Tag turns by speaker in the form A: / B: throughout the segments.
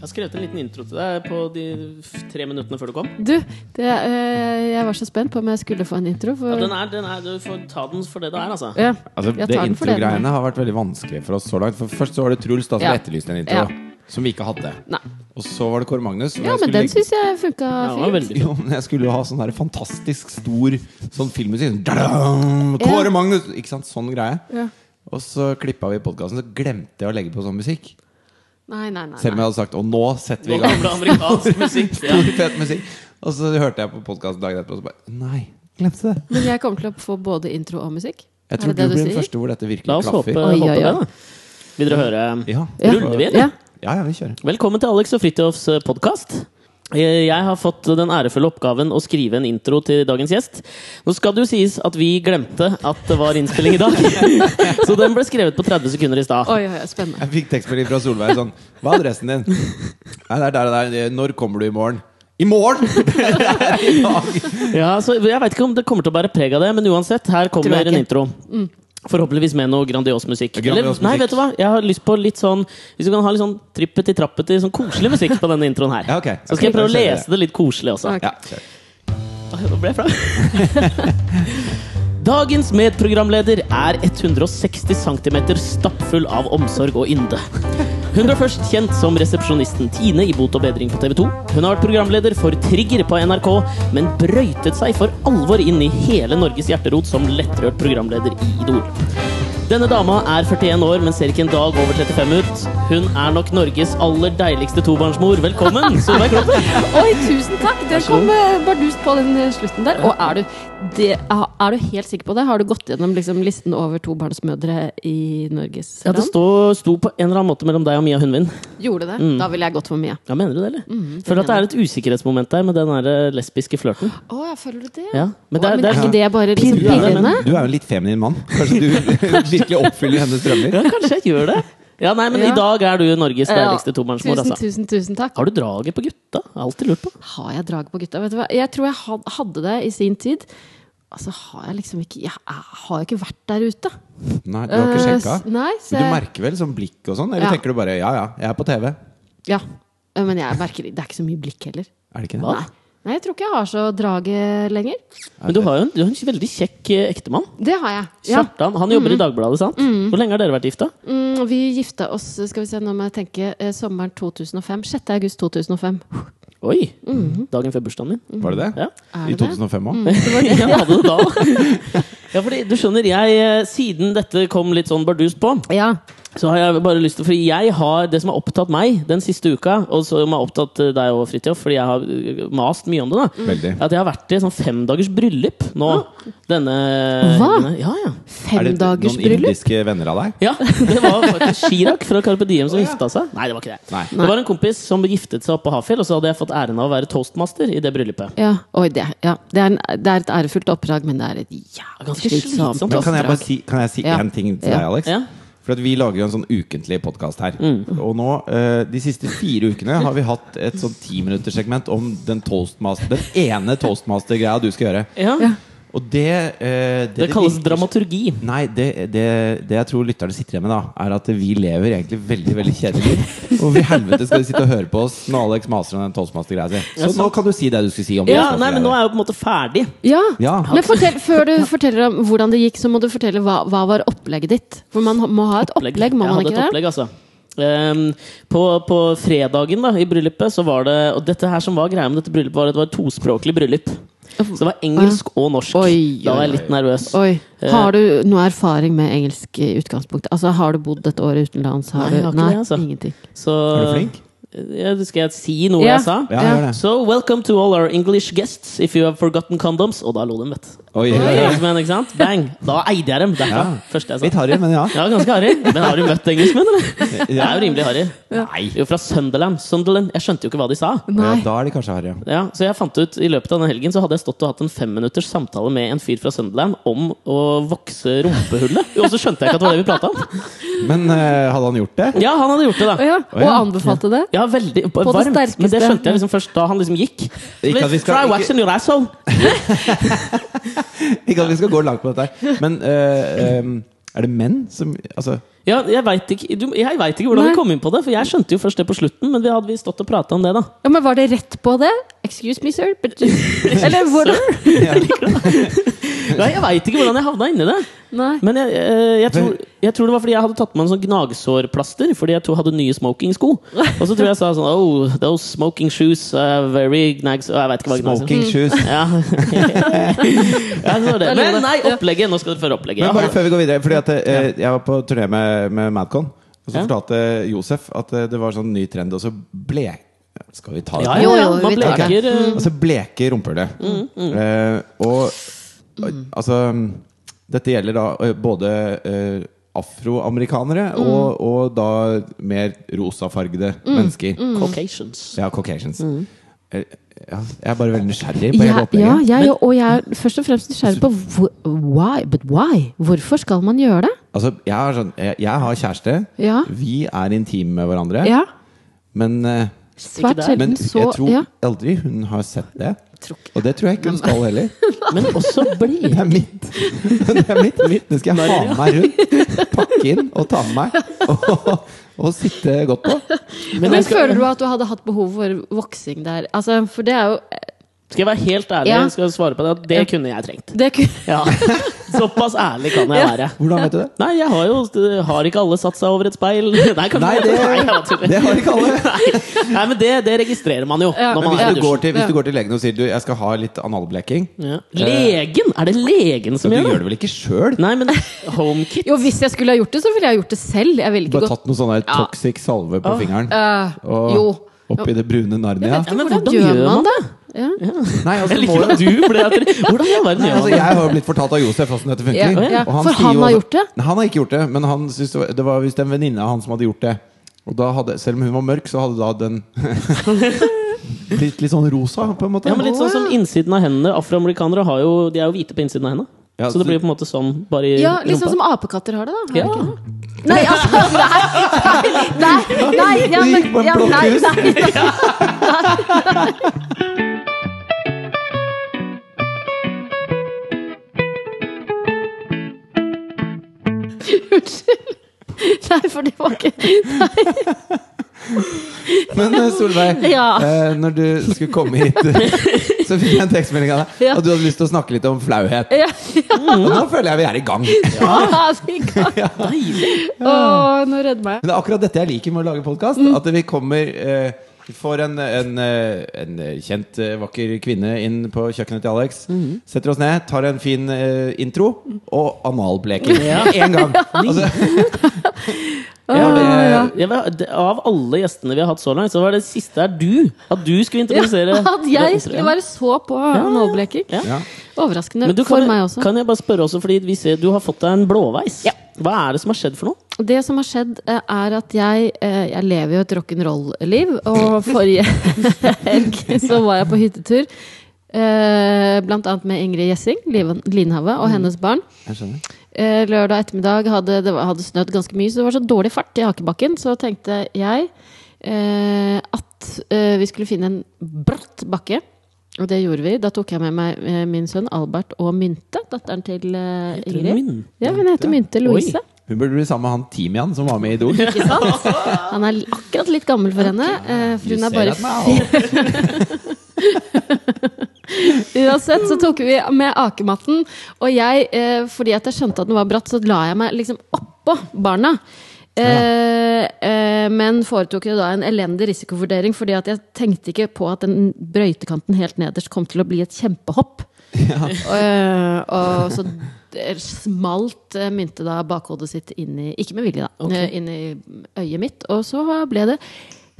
A: har skrevet en liten intro til deg på de f- tre minuttene før du kom.
B: Du, det, eh, jeg var så spent på om jeg skulle få en intro. For,
A: Ja, den er, den er, du får ta den for det det er, altså.
B: Ja,
C: Altså,
B: jeg
C: det
B: tar den for det den er.
C: introgreiene har vært veldig vanskelig for oss så langt. For Først så var det Truls da som
B: Ja.
C: etterlyste en
B: Ja.
C: intro, som vi ikke hadde.
B: Nei.
C: Og så var det Kåre Magnus. og
B: ja
C: jeg
B: men
C: skulle
B: den
C: legge-
B: syns jeg funka
A: Den var
B: fint.
A: veldig fin.
C: jo, men jeg skulle jo ha sånn der fantastisk stor sånn filmmusikk. Sånn, dadam, Kåre
B: Ja.
C: Magnus! Ikke sant? Sånn greie.
B: Ja.
C: Og så klippa vi podkasten, så glemte jeg å legge på sånn musikk.
B: Nei, nei, nei.
C: Selv om
B: nei.
C: jeg hadde sagt 'Og nå setter vi
A: Nå
C: i gang'.
A: kommer det amerikansk musikk. Ja.
C: Stor, fet musikk. Og så hørte jeg på podkasten dagen etterpå, og så bare Nei, glemte det.
B: Men jeg kommer til å få både intro og musikk.
C: Jeg tror
B: er det
C: du
B: det
C: blir
B: du
C: den
B: sier?
C: første hvor dette
A: La
C: virkelig
A: oss håpe,
C: klaffer.
B: Oi,
A: håpe
B: oi,
A: det,
B: oi.
A: da. Vil dere høre
C: Ja.
B: Ja.
A: Ruller vi, eller?
B: Ja.
C: ja, ja, vi kjører.
A: Velkommen til Alex og Fridtjofs podkast. Jeg har fått den ærefulle oppgaven å skrive en intro til dagens gjest. Nå skal det jo sies at vi glemte at det var innspilling i dag, så den ble skrevet på 30 sekunder i stad.
B: Oi, oi, oi, spennende.
C: Jeg fikk tekstmelding fra Solveig sånn Hva er adressen din? Nei, det er der, det er der. Når kommer du i morgen? I morgen?!
A: Ja, så jeg veit ikke om det kommer til å bære preg av det, men uansett, her
B: Tror
A: kommer
B: jeg
A: en
B: ikke. Mm.
A: intro. Forhåpentligvis med noe grandios musikk.
C: Grandios musikk.
A: nei, vet du hva? Jeg har lyst på litt sånn Hvis du kan ha litt sånn trippet i trappet i sånn koselig musikk på denne introen her.
C: Ja, ok.
A: Så skal jeg
C: Ok,
A: prøve å
C: da kjører vi
A: lese det litt koselig også.
B: Ok.
C: Ja, kjør.
A: Oi, Nå ble jeg flau. Dagens medprogramleder er 160 cm stappfull av omsorg og ynde. Hun ble først kjent som resepsjonisten Tine i Bot og bedring på TV 2. Hun har vært programleder for Trigger på NRK, men brøytet seg for alvor inn i hele Norges hjerterot som lettrørt programleder i Idol. Denne dama er 41 år, men ser ikke en dag over 35 ut. Hun er nok Norges aller deiligste tobarnsmor. Velkommen, Solveig Kloppen!
B: Oi, tusen takk! Den
A: så god.
B: kom eh, bardust på den eh, slutten der. Og er du, det, ah, er du helt sikker på det? Har du gått gjennom liksom, listen over tobarnsmødre i Norges
A: Ja, det
B: land?
A: sto, sto på en eller annen måte mellom deg og Mia Hundvin.
B: Gjorde det?
A: Mm.
B: Da ville jeg gått for mye.
A: Ja, mener du det, eller?
B: Mhm,
A: Føler at det er et usikkerhetsmoment der med den der lesbiske flørten.
B: Å, ja, føler du det?
A: Ja. Men
B: Å,
A: det er, sånn-
B: men
A: det
B: er
A: er,
B: ikke det bare liksom
C: Du er, jo
B: pirrende?
C: en- du er jo en litt feminin mann. Kanskje du virkelig oppfyller hennes drømmer?
A: ja, kanskje jeg gjør det? Ja, nei, men
B: Ja.
A: i dag er du Norges
B: Ja.
A: deiligste tobarnsmor,
B: Tusen,
A: altså.
B: tusen, tusen takk.
A: Har du draget på gutta? Jeg har Alltid lurt på.
B: Har jeg drag på gutta? Vet du hva? Jeg tror jeg had- hadde det i sin tid. Altså, har jeg liksom ikke Jeg er- har jo ikke vært der ute.
C: Nei, du har ikke
B: Eh,
C: sjekka?
B: s- Nei, så
C: Men du
B: jeg,
C: merker vel sånn blikk og sånn?
B: Ja.
C: Eller tenker du bare ja ja, jeg er på TV?
B: ja. Eh, Men jeg merker det er ikke så mye blikk heller.
C: Er det ikke det?
A: Hva?
B: Nei. Nei, jeg tror ikke jeg har så draget lenger.
A: Men du har jo en, du har en veldig kjekk eh, ektemann.
B: Det har jeg. Ja. Mhm.
A: Kjartan. Han jobber i Dagbladet, sant? Hvor lenge har dere vært gifta?
B: Mm, vi gifta oss skal vi se, nå må jeg tenke, eh, sommeren 2005. 6. august 2005.
A: Oi! Dagen før bursdagen min.
C: Var det det?
A: Ja.
B: Er
C: I
B: Mhm. det Mm. det?
C: 2005 òg?
A: Ja, hadde det da. Ja, fordi du skjønner, jeg, eh, siden dette kom litt sånn bardus på,
B: Ja.
A: Så har jeg bare lyst til, fordi jeg har Det som har opptatt meg den siste uka, og som har opptatt eh, deg og Fridtjof, fordi jeg har eh, mast mye om det, da
C: Veldig.
A: er At jeg har vært i sånn femdagers bryllup nå. Denne
B: Hva?
A: denne- Ja, ja.
C: noen
B: Femdagersbryllup?
C: indiske venner av deg?
A: Ja, Det var faktisk Chirag fra Carpe Diem som gifta seg. Nei, det var ikke det.
C: Nei.
A: Det var en kompis som giftet seg oppe på Hafjell, og så hadde jeg fått æren av å være toastmaster i det bryllupet.
B: Ja. Oi, det, ja. Det, er en, det er et ærefullt oppdrag, men det er et jævlig
A: Ganske slitsomt. altså.
B: slitsomt
C: Men kan jeg
B: oppdrag.
C: bare si, kan jeg si
B: Ja.
C: én ting til
B: Ja.
C: deg, Alex?
A: Ja.
C: For at Vi lager jo en sånn ukentlig podkast her. Og nå, eh, De siste fire ukene har vi hatt et sånn timinutterssegment om den, toastmaster, den ene toastmaster-greia du skal gjøre.
A: Ja,
B: Ja.
C: Og det eh,
A: Det kalles
C: virker-
A: dramaturgi.
C: Nei, det, det, det jeg tror lytterne sitter igjen med, da er at vi lever egentlig veldig veldig kjedelig. Hvorfor i helvete skal de sitte og høre på oss når Alex maser om den toastmaster-greia si? Så nå kan du si det du skulle si om
A: Ja, nei, men Nå er
C: toastmaster-greia.
A: jeg jo på en måte ferdig.
B: Ja.
C: Ja.
B: Men fortell, før du forteller om hvordan det gikk, så må du fortelle hva, hva var opplegget ditt? For man må ha et opplegg,
A: jeg
B: må man
A: hadde et
B: ikke
A: opplegg,
B: det?
A: altså. Ehm, på, på fredagen da, i bryllupet, så var det Og dette her som var greia med dette bryllupet, var at det var et tospråklig bryllup. Så det var engelsk og norsk.
B: Oi,
A: da var
B: oi,
A: jeg litt nervøs.
B: Oi.
A: Eh,
B: Har du noe erfaring med engelsk i utgangspunktet? Altså, har du bodd et år utenlands? Har
A: Nei, jeg
B: du?
A: har ikke
B: Nei,
A: det, altså.
B: ingenting.
A: Så,
C: Er du flink?
A: Ja, skal jeg si noe
B: Ja.
A: jeg sa?
C: Ja, gjør det.
A: So welcome to all our English guests if you have forgotten condoms. Og da lo de, vet du.
C: Oi, oi, oi.
A: Engelskmenn, ikke sant? Bang! Da eide jeg dem. Det er
C: Ja.
A: det første jeg sa.
C: Litt harry, men ja.
A: Ja, ganske harry. Men har du møtt engelskmenn, eller? Det er jo rimelig harry.
C: Nei.
A: Jo, fra Sunderland. Sunderland. Jeg skjønte jo ikke hva de sa.
B: Nei.
C: Ja, da er de kanskje harry, ja.
A: Ja, så jeg fant ut I løpet av den helgen så hadde jeg stått og hatt en femminutters samtale med en fyr fra Sunderland om å vokse rumpehullet. Og så skjønte jeg ikke at det var det vi prata om.
C: Men eh, hadde han gjort det?
A: Ja, han hadde gjort det,
B: Å
A: da.
B: ja.
C: Å
B: Og
C: ja.
B: anbefalte det?
A: Ja, veldig
B: det
A: varmt. Men det
B: sterkeste.
A: skjønte jeg liksom først da han liksom gikk.
C: Ikke at vi skal-
A: Try
C: ikke-
A: waxing your asshole!
C: Ikke at vi skal gå langt på dette her, men eh, eh, er det menn som Altså,
A: Ja, jeg veit ikke, du- jeg vet ikke hvordan
B: Nei.
A: vi kom inn på det, for jeg skjønte jo først det på slutten. Men vi hadde vi stått og prata om det, da.
B: Ja, men Var det rett på det? Excuse me, sir. But Eller hvordan?
A: Nei, jeg veit ikke hvordan jeg havna inni det.
B: Nei.
A: Men jeg, eh, jeg, tror, jeg tror det var fordi jeg hadde tatt med en sånn gnagsårplaster. Fordi jeg to hadde nye smokingsko. Og så tror jeg jeg sa sånn Oh, those smoking shoes are very gnags... Og jeg vet ikke hva gnags
C: Smoking shoes.
A: Ja. ja, så var det. Men nei, opplegget! Nå skal du føre opplegget.
C: Men bare
A: Ja.
C: før vi går videre, fordi at eh, jeg var på turné med, med Madcon. Og så
A: Ja.
C: fortalte Josef at eh, det var sånn ny trend, og så ble Skal vi ta det?
A: Ja, Mm,
B: Jo,
A: ja, ja.
B: jo, vi
A: Man
B: tar det.
A: bleker eh,
C: Altså bleke rumpehullet. Eh, og altså Dette gjelder da eh, både eh, afroamerikanere og, og da mer rosafargede mennesker.
A: mm.
B: Mm.
A: Caucasians.
C: Ja, caucasians. Eh, ja, jeg er bare veldig nysgjerrig på
B: Ja,
C: hele
B: ja
C: opplegget.
B: jeg, og jeg er først og fremst nysgjerrig på hvor- why, but why? Hvorfor skal man gjøre det?
C: Altså, jeg, har sånn, jeg, jeg har kjæreste.
B: Ja.
C: Vi er intime med hverandre.
B: Ja,
C: Men, eh,
B: Svært
A: det.
B: sjelden
C: men
B: så
C: jeg tror
B: ja.
C: aldri hun har sett det. Og det tror jeg ikke hun skal heller.
A: Men også
C: Det
A: bleke.
C: er mitt. Det er mitt. Det skal jeg ha med meg rundt. Pakke inn og ta med meg. Og, og sitte godt på.
A: Men
B: Men
A: jeg skal,
B: føler du at du hadde hatt behov for voksing der? Altså, for det er jo
A: skal jeg være helt ærlig
B: Ja.
A: skal jeg svare på det, at det kunne jeg trengt.
B: det, ku-
A: Ja. Såpass ærlig kan jeg være.
C: Hvordan vet du det?
A: Nei, jeg har jo Har ikke alle satt seg over et speil? Nei, kanskje-
C: Nei, det,
A: Nei, jeg bare tuller.
C: det har ikke alle.
A: Nei, Nei, men det, det registrerer man jo.
B: Ja.
A: Når
C: Men
A: man
C: hvis
A: er i
C: du,
A: dusjen.
C: går til, hvis du går til legen og sier du, jeg skal ha litt analbleking
A: Ja.
C: Eh.
A: Legen? Er det legen
C: Du
A: som gjør det?
C: gjør det vel ikke sjøl?
A: Nei, men HomeKit
B: Jo, hvis jeg skulle ha gjort det, så ville jeg gjort det selv. Jeg ville ikke
C: Bare
B: gått
C: tatt noe sånn der toxic salve på fingeren
B: Eh,
C: og
B: Jo.
C: oppi det brune Narnia?
A: Ja, men
B: Hvordan
A: hvordan
B: gjør
A: gjør
B: man
A: man
B: det? Ja.
C: Nei, altså,
A: Jeg
C: må
A: liker
C: jo,
A: at du ble at Hvordan i all verden
C: Nei,
A: gjør
C: altså,
A: man det?
C: jeg har jo blitt fortalt av Josef åssen dette funker.
B: Ja, ja.
C: Og
B: For
C: sier
B: han
C: jo
B: har
C: også-
B: gjort det?
C: Nei, han har ikke gjort det, men han syntes det, var, det var visst en venninne av han som hadde gjort det. Og da hadde, selv om hun var mørk, så hadde da den blitt litt sånn rosa, på en måte.
A: Ja, men litt sånn som innsiden av hendene Afroamerikanere har jo, de er jo hvite på innsiden av hendene.
C: Ja,
A: Så
C: så-
A: det blir på en måte sånn bare i
B: ja, litt sånn
A: rumpa.
B: som apekatter har det, da. Har
A: Ja.
B: de ikke det? Nei, altså Nei! Nei! nei, ja,
C: Du
B: men,
C: gikk på en
B: ja, nei,
C: blokkhus.
B: nei. Unnskyld. Nei, for det var ikke
C: Men eh, Solveig,
B: Ja.
C: eh, når du skulle komme hit, så fikk jeg en tekstmelding av deg.
B: Ja.
C: Og du hadde lyst til å snakke litt om flauhet.
B: Ja,
C: Og nå føler jeg vi er i gang. Men
B: ja vi kan. Å, nå redder meg.
C: det er akkurat dette jeg liker med å lage podkast.
B: Mm.
C: At vi kommer eh, vi får en, en, eh, en kjent, eh, vakker kvinne inn på kjøkkenet til Alex.
B: Mm.
C: Setter oss ned, tar en fin eh, intro og analbleking
A: Ja.
C: med en gang. Altså,
A: Ja, det-
C: Å, ja.
A: jeg vet- det- Av alle gjestene vi har hatt så langt, så var det siste er du. At du skulle
B: Ja,
A: introdusere
B: at jeg skulle være så på nålbleking.
A: Ja.
C: ja.
B: Overraskende
A: Men du,
B: for
A: kan,
B: meg også.
A: kan jeg bare spørre også, fordi vi ser, du har fått deg en blåveis. Hva er det som har skjedd for noe?
B: Det som har skjedd, eh, er at jeg, eh, jeg lever jo et rock'n'roll-liv. Og forrige helg så var jeg på hyttetur. eh, Blant annet med Ingrid Gjessing Liven- Linhave
A: Mm.
B: og hennes barn.
C: Jeg skjønner.
B: Eh, Lørdag ettermiddag hadde det var- hadde snødd ganske mye, så det var så dårlig fart i Hakebakken. Så tenkte jeg eh, at eh, vi skulle finne en bratt bakke. Og det gjorde vi. Da tok jeg med meg eh, min sønn Albert og Mynte, datteren til eh,
A: hun
B: Ingrid.
A: Mynte?
B: Ja, hun heter Mynte Louise.
A: Oi.
C: Hun burde bli sammen med han Timian som var med i Idol.
B: Ikke sant? Han er akkurat litt gammel for henne. eh, For
C: You
B: hun er
C: say
B: bare
C: that now.
B: Uansett så tok vi med akematten, og jeg, eh, fordi at jeg skjønte at den var bratt, så la jeg meg liksom oppå barna. Eh, eh, men foretok jo da en elendig risikovurdering, fordi at jeg tenkte ikke på at den brøytekanten helt nederst kom til å bli et kjempehopp. Eh, og så d- smalt eh, mynte da bakhodet sitt inn i Ikke med vilje, da. eh, Inn i øyet mitt. Og så ble det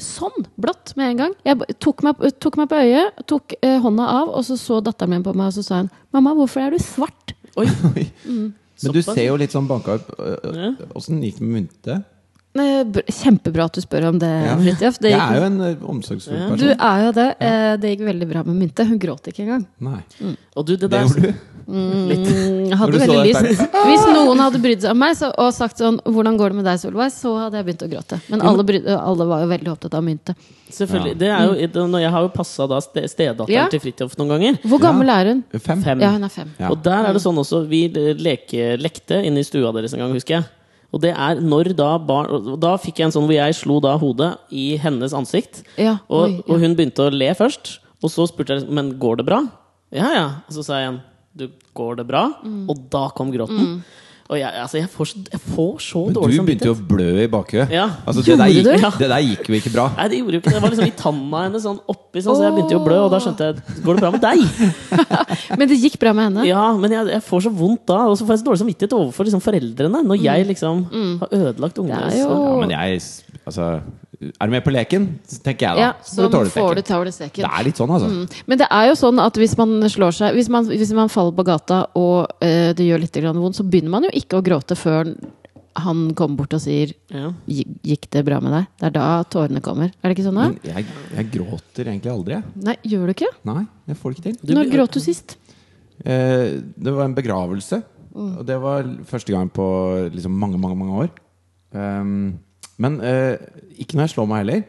B: sånn blått med en gang. Jeg b- tok meg, tok meg på øyet, tok eh, hånda av, og så så datteren min på meg og så sa hun 'Mamma, hvorfor er du svart?'
A: Oi,
B: Mm.
C: Men du
A: Såpass.
C: ser jo litt sånn banka opp. Åssen gikk det med Mynte?
B: Eh, br- Kjempebra at du spør om det,
C: Ja.
B: Fridtjof. Det
C: Jeg
B: gikk-
C: er jo en eh, omsorgsfull
B: Du
C: person.
B: er jo det. Eh, Det gikk veldig bra med Mynte. Hun gråt ikke engang.
C: Nei.
A: Og du, det
C: Det
A: der
C: gjorde du.
B: Mm, Jeg
C: Når
B: hadde
C: du så
B: veldig
C: deg
B: lyst. Hvis noen hadde brydd seg om meg så, og sagt sånn 'Hvordan går det med deg, Solveig?' så hadde jeg begynt å gråte. Men alle, bryd, alle var jo veldig opptatt av mynte.
A: Selvfølgelig. Det er
C: Mm.
A: jo, det, når jeg har jo passa da ste- stedatteren
B: Ja.
A: til Fridtjof noen ganger.
B: Hvor gammel er hun?
C: Fem.
A: Fem.
B: Ja, hun er fem.
C: Ja.
A: Og der er det sånn også Vi eh, leke, lekte inne i stua deres en gang, husker jeg. Og det er når da barn og Da fikk jeg en sånn hvor jeg slo da hodet i hennes ansikt.
B: Ja,
A: og,
B: oi, ja.
A: og hun begynte å le først. Og så spurte jeg men går det bra. Ja, ja. Og så sa jeg igjen du, går det bra?
B: Mm.
A: Og da kom gråten. Og jeg, altså, jeg, får, så- jeg får så
C: Men
A: dårlig
C: du begynte jo å
A: samvittighet.
C: blø i bakhuet.
A: Ja.
C: Altså, det, der
B: Gjorde
C: gikk,
A: du? Ja.
C: det der gikk jo ikke bra.
A: Nei, det gjorde jo ikke det. Det var liksom i tanna hennes, sånn oppi, sånn, så jeg begynte jo å blø. Og da skjønte jeg Går det bra med deg?
B: Men det gikk bra med henne?
A: Ja, men jeg, jeg får så vondt da, og så får jeg så dårlig samvittighet overfor liksom, foreldrene når jeg liksom har ødelagt ungene
B: Mm. Det er jo-
C: Ja, men jeg s- Altså, er du med på leken? Så tenker jeg, da.
B: Ja, så
C: får du tåle
B: får du Mm.
C: leken.
B: tavlesteken.
C: Det er litt sånn, altså.
B: Men det er jo sånn at hvis man slår seg Hvis man, hvis man faller på gata og eh, det gjør litt grann vondt, så begynner man jo ikke å gråte før han kommer bort og sier
A: Ja.
B: «Gi- 'Gikk det bra med deg?' Det er da tårene kommer. Er det ikke sånn? da?
C: Men jeg, jeg gråter egentlig aldri. jeg.
B: Nei, gjør du ikke?
C: Nei, jeg får det ikke til.
A: Du
B: Når
A: blir-
B: gråt du sist?
C: Eh, det var en begravelse.
B: Mm.
C: Og det var første gang på liksom mange, mange mange år. Ehm, men eh, ikke når jeg slår meg heller.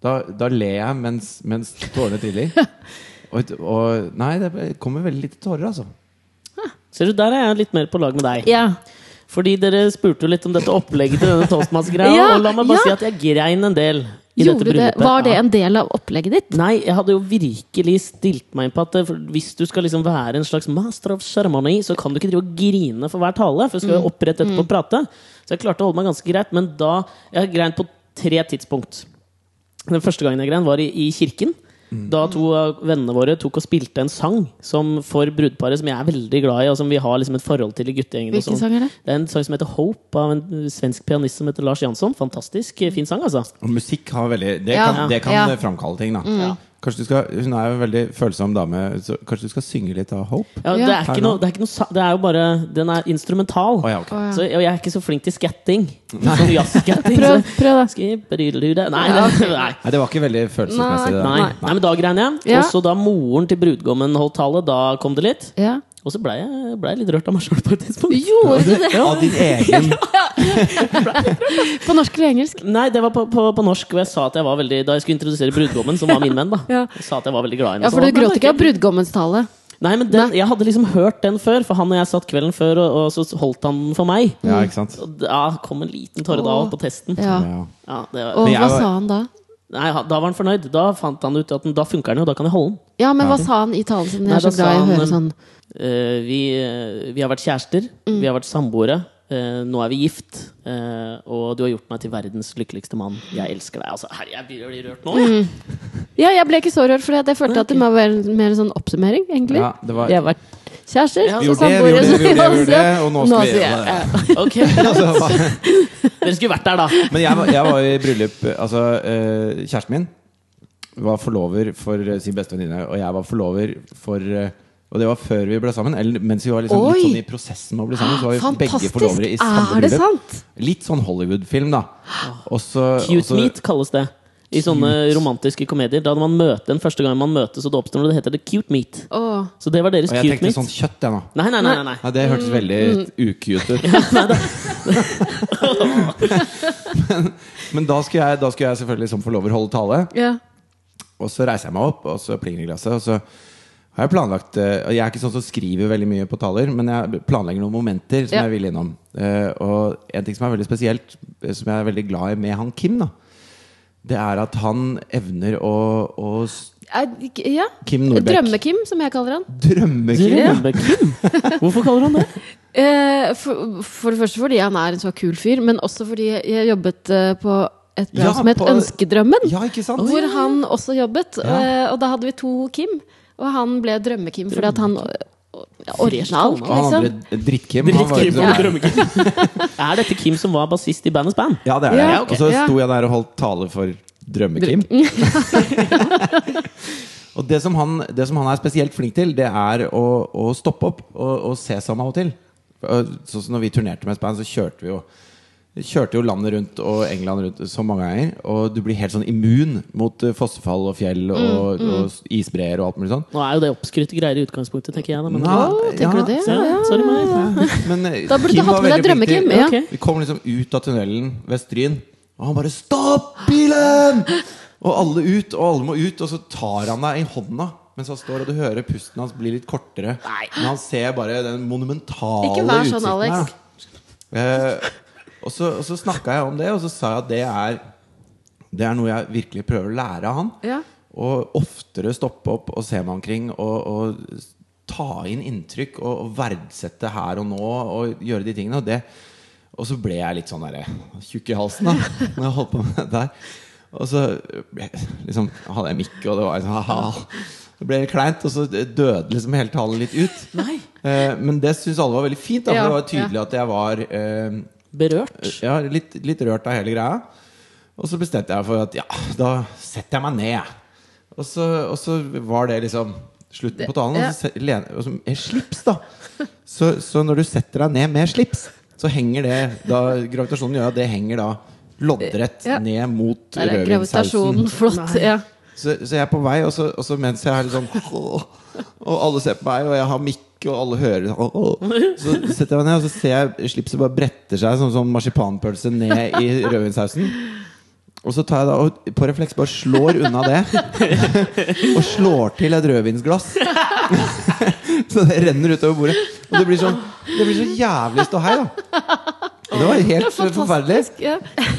C: Da, da ler jeg mens, mens tårene triller. og, og Nei, det kommer veldig lite tårer, altså.
A: Ser du, der er jeg litt mer på lag med deg.
B: Ja.
A: Fordi dere spurte jo litt om dette opplegget til denne Toastmas-greia,
B: Ja,
A: og la meg bare
B: ja.
A: si at jeg grein en del i
B: Gjorde
A: dette
B: det,
A: bryllupet.
B: var det
A: Ja.
B: en del av opplegget ditt?
A: Nei, jeg hadde jo virkelig stilt meg inn på at eh, for hvis du skal liksom være en slags master of ceremony, så kan du ikke drive og grine for hver tale, for du skal jo
B: Mm.
A: opprette etterpå og prate. Så jeg klarte å holde meg ganske greit, men da Jeg grein på tre tidspunkt. Den første gangen jeg grein, var i, i kirken. Da to av vennene våre tok og spilte en sang som for brudeparet som jeg er veldig glad i, og som vi har liksom et forhold til i guttegjengen. og
B: Hvilken
A: sånn.
B: sang er det?
A: Det er en sang som heter Hope, av en uh, svensk pianist som heter Lars Jansson. Fantastisk eh, fin sang, altså.
C: Og musikk har veldig Det
B: Ja.
C: kan, det kan
B: Ja.
C: eh, framkalle ting, da. Kanskje du skal, hun er jo en veldig følsom dame, så kanskje du skal synge litt av Hope?
A: Ja,
B: Ja.
A: Det, er
C: Her
A: ikke
C: nå.
A: noe, det er ikke noe sa- Det er jo bare Den er instrumental.
C: Å ja, ok.
B: Å ja.
A: Så, og jeg er ikke så flink til skatting. Sånn jazzskatting.
B: Prøv,
A: så-
B: prøv da.
A: Skibberydelyde. Nei, det- nei.
C: Nei, det var ikke veldig følelsesmessig. det der.
A: Nei. nei, men da grein jeg.
B: Ja.
A: Og så da moren til brudgommen holdt tale, da kom det litt.
B: Ja.
A: Og så ble jeg, ble jeg litt rørt av meg sjøl på et tidspunkt.
B: Gjorde du det?
C: Av din egen
B: På norsk eller engelsk?
A: Nei, det var på, på, på norsk, og jeg sa at jeg var veldig Da jeg skulle introdusere brudgommen, som var min venn, da,
B: Ja.
A: jeg sa at jeg var veldig glad i henne.
B: Ja,
A: Så
B: for du
A: han ble
B: gråt ikke av
A: veldig-
B: brudgommens tale?
A: Nei, men den, jeg hadde liksom hørt den før, for han og jeg satt kvelden før, og, og så holdt han den for meg.
C: Ja, ikke sant?
A: Og da kom en liten tåre da
B: Åh.
A: på testen.
B: Ja.
C: Ja.
A: Ja, det var,
B: Og
C: Men jeg
B: hva
C: var-
B: sa han da?
A: Nei, han- da var han fornøyd. Da fant han ut at den, da funker den jo, da kan jeg holde den.
B: Ja, men hva sa han i talen sin? Jeg
A: Nei,
B: er så
A: da sa
B: glad i å
A: han,
B: høre
A: eh,
B: sånn
A: Eh, vi, eh, vi har vært kjærester, vi har vært samboere, eh, nå er vi gift. eh, og du har gjort meg til verdens lykkeligste mann. Jeg elsker deg. Altså, herre, jeg begynner å bli rørt nå. jeg.
B: Ja, jeg ble ikke så rørt, for jeg følte at det må være mer en sånn oppsummering, egentlig.
C: Ja, det var-
B: Vi har vært kjærester,
A: Ja,
C: Vi
A: så
C: gjorde det, vi gjorde det, vi gjorde det, vi gjorde det, og nå skal vi gjøre det.
A: Ok, Dere skulle vært der, da.
C: Men jeg var, jeg var i bryllup Altså, eh, kjæresten min var forlover for eh, sin beste venninne, og jeg var forlover for eh, og det var før vi ble sammen, eller mens vi var liksom, litt
B: Oi!
C: sånn i prosessen med å bli sammen. Så var vi begge
B: Fantastisk!
C: forlovere i samme
B: Er det
C: bryllup.
B: sant?
C: Litt sånn Hollywood-film, da. Og så- og
A: Cute
C: så-
A: meat kalles det. I sånne romantiske komedier. Da man møter den første gang man møtes, og det oppstår noe, det heter det cute meat.
B: Åh.
A: Så det var deres
C: Og jeg
A: cute
C: tenkte
A: meat.
C: sånn kjøtt, jeg nå.
A: Nei, nei, nei, nei, nei.
C: Ja, det hørtes veldig ukute ut. men, men da skulle jeg, da skulle jeg selvfølgelig som forlover holde tale.
B: Ja.
C: Og så reiser jeg meg opp, og så plinger det i glasset. Og så har jeg planlagt eh, og Jeg er ikke sånn som skriver veldig mye på taler, men jeg planlegger noen momenter som
B: Ja.
C: jeg vil innom. Eh, og en ting som er veldig spesielt, eh, som jeg er veldig glad i med han Kim, da, det er at han evner å, å s-
B: Er- ja.
C: Kim Nordbeck.
B: Drømme-Kim, som jeg kaller han.
C: Drømme-Kim! ja.
A: Drømmekim? Hvorfor kaller han det?
B: Eh, for, for det første fordi han er en så kul fyr, men også fordi jeg jobbet eh, på et program
C: Ja,
B: som het
C: på-
B: Ønskedrømmen.
C: Ja, ikke sant?
B: Hvor han også jobbet.
C: Ja.
B: eh, Og da hadde vi to Kim, og han ble Drømme-Kim fordi at han ja, Original,
C: Og han
B: liksom.
C: andre Dritt-Kim. han var jo ikke sånn-
A: Er dette Kim som var bassist i bandets band?
C: Ja, det er det.
B: Ja, ok.
C: Og så
B: Ja.
C: sto jeg der og holdt tale for Drømme-Kim. og det som, han, det som han er spesielt flink til, det er å, å stoppe opp og, og se seg om av og til. Og Sånn som når vi turnerte med et band, så kjørte vi jo Kjørte jo landet rundt og England rundt så mange ganger. Og du blir helt sånn immun mot eh, fossefall og fjell
B: Mm,
C: og, og isbreer og alt mulig sånn.
A: Nå er jo det oppskrytte greier i utgangspunktet, tenker jeg. Da, men
C: Nei,
B: Å, tenker du det?
A: Så, sorry meg.
C: Men, eh,
B: Da burde du
C: Kim
B: hatt
C: var
B: med deg
C: veldig flink til-
B: Drømme-Kim. Ja.
A: Ok.
C: vi kom liksom ut av tunnelen ved Stryn, og han bare 'Stopp bilen!' Og alle ut, og alle må ut, og så tar han deg i hånda mens han står, og du hører pusten hans bli litt kortere. Men han ser bare den monumentale
B: Ikke vær sånn,
C: utsikten
B: Alex.
C: her, da. Eh, Og så, og så snakka jeg om det, og så sa jeg at det er, det er noe jeg virkelig prøver å lære av han.
B: Ja.
C: Og oftere stoppe opp og se meg omkring og, og ta inn inntrykk og, og verdsette her og nå og gjøre de tingene. Og, det, og så ble jeg litt sånn derre tjukk i halsen da Når jeg holdt på med det der. Og så ble- liksom, hadde jeg mikk, og det var sånn ha-ha. Det ble litt kleint, og så døde liksom hele talen litt ut.
A: Nei.
C: Eh, men det syns alle var veldig fint. Da, for
B: Ja,
C: det var tydelig at jeg var eh,
A: Berørt.
C: ja, litt, litt rørt av hele greia. Og så bestemte jeg for at ja, da setter jeg meg ned. jeg. Og så, og så var det liksom slutten på talen. Og så se- len- og så, eh, slips, da! Så, så når du setter deg ned med slips, så henger det da, Gravitasjonen gjør at det henger da loddrett
B: Ja.
C: ned mot
B: Der er gravitasjonen
C: rødvinssausen.
B: flott. Ja.
C: Så, så jeg er på vei, og så, og så mens jeg er litt sånn Og alle ser på meg, og jeg har mikk, og alle hører Så setter jeg meg ned, og så ser jeg slipset bare bretter seg som sånn marsipanpølse ned i rødvinssausen. Og så tar jeg da og på refleks bare slår unna det. Og slår til et rødvinsglass. Så det renner utover bordet. Og det blir sånn Det blir så jævlig ståhei, da. Og Det var helt forferdelig.
B: Fantastisk. Ja.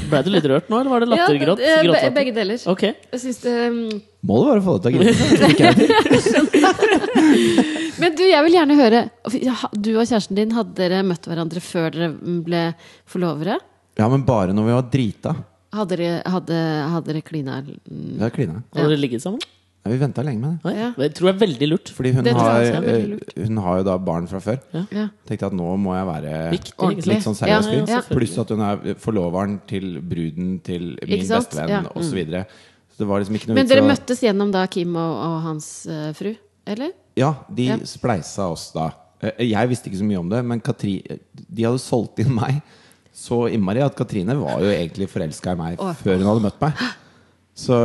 A: Ble du litt rørt nå, eller var det
B: Ja,
A: lattergråt?
B: eh, be-
A: Gråtlatter?
B: begge deler.
A: Ok.
B: Jeg syns det um,
C: Må det være å få det til å grine. ikke jeg til.
B: Men du, jeg vil gjerne høre ja, Du og kjæresten din, hadde dere møtt hverandre før dere ble forlovere?
C: Ja, men bare når vi var drita.
B: Hadde dere, hadde, hadde dere klina mm,
C: Da klina jeg.
A: Har dere ligget sammen?
C: Ja, vi venta lenge med det.
A: Nei.
B: Ja.
A: Det tror jeg er veldig lurt.
C: Fordi hun
B: Det tror
C: har,
B: jeg også er veldig
C: eh, hun har jo da barn fra før.
B: ja.
C: Tenkte at nå må jeg være
A: Viktig,
B: Ordentlig.
C: litt sånn seriøs
B: Ja, ja,
C: fyr.
B: ja.
C: Pluss at hun er forloveren til bruden til min
B: Ikke sant?
C: bestevenn
B: Ja. Mm.
C: osv. Så, videre. så det var liksom ikke noe
B: Men
C: vits
B: dere
C: å-
B: møttes gjennom da Kim og, og hans eh, fru? Eller?
C: Ja, de
B: Ja.
C: spleisa oss da. Eh, Jeg visste ikke så mye om det, men Katri, de hadde solgt inn meg så innmari at Katrine var jo egentlig forelska i meg
B: Åh.
C: før hun hadde møtt meg. Så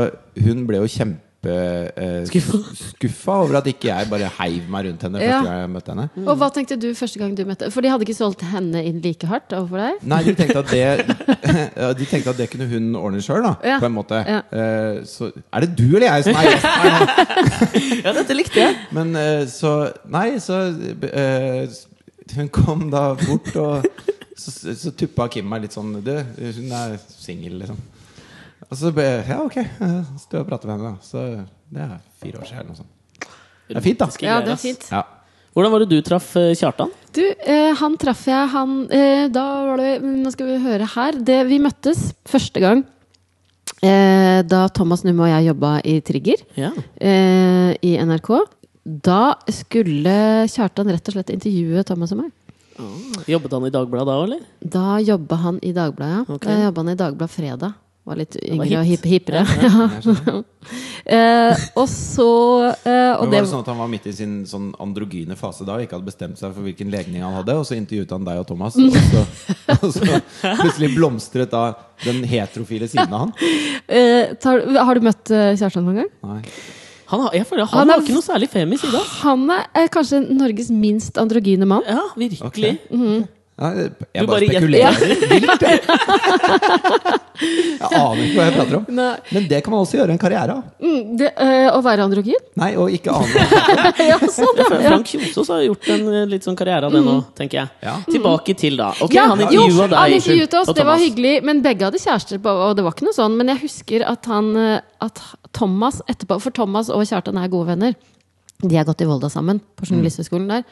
C: hun ble jo kjempe eh,
A: Skuffa.
C: skuffa over at ikke jeg bare heiv meg rundt henne
B: Ja.
C: første gang jeg møtte henne.
B: Og hva tenkte du første gang du møtte For de hadde ikke solgt henne inn like hardt overfor deg?
C: Nei, de tenkte at det ja, De tenkte at det kunne hun ordne sjøl, da.
B: Ja.
C: På en måte.
B: Ja.
C: Eh, så er det du eller jeg som er gjest her nå? sånn-
A: Ja, dette likte jeg.
C: Men eh, så Nei, så eh, Hun kom da bort, og så, så tuppa Kim meg litt sånn Du, hun er singel, liksom. Og så ble Ja, ok. eh, Så du og prater med henne, da. Så det er fire år siden, eller noe sånt. Det er fint, da.
B: Ja,
A: greier,
B: det er
A: ass.
B: fint.
C: Ja.
A: Hvordan var det du traff eh, Kjartan?
B: Du, eh, han traff jeg han eh, Da var det Nå skal vi høre her. Det, vi møttes første gang eh, da Thomas Numme og jeg jobba i Trigger.
A: Ja.
B: eh, i NRK. Da skulle Kjartan rett og slett intervjue Thomas og meg.
A: Jobbet han i Dagbladet da, eller?
B: Da jobba han i Dagbladet.
A: Ok.
B: Da jobba han i Dagbladet Fredag. Var litt
A: var
B: yngre og
A: hipt.
B: hipp, hippere. eh, og så eh, og
C: Men
B: det,
C: var det sånn at Han var midt i sin sånn androgyne fase da og ikke hadde bestemt seg for hvilken legning han hadde. Og så intervjuet han deg og Thomas, og så, og så plutselig blomstret da den heterofile siden av han.
B: eh, tar, Har du møtt eh, Kjartan noen gang?
C: Nei.
A: Han har, jeg føler,
B: Han
A: han
B: er-
A: har ikke noe særlig femi side. ass.
B: Han er eh, kanskje Norges minst androgyne mann.
A: Ja, virkelig.
C: Ok. Nei,
A: Du bare
C: jeg bare spekulerer. Vilt, jeg. jeg aner ikke hva jeg prater om.
B: Nei.
C: Men det kan man også gjøre en karriere av.
B: Mm, det, eh, å være androgyn?
C: Nei, og ikke ane.
B: ja, sånn!
A: Jeg føler Frank Kjosås har gjort en eh, litt sånn karriere av det nå, tenker jeg.
C: Ja.
A: Tilbake til da. Ok,
B: Ja,
A: han
B: jo,
A: intervjua deg.
B: han intervjuet oss,
A: og
B: det var
A: Thomas.
B: hyggelig. Men begge hadde kjærester, på, og det var ikke noe sånn. Men jeg husker at han eh, At Thomas etterpå For Thomas og Kjartan er gode venner. De har gått i Volda sammen, på
A: Mm.
B: journalisthøgskolen der.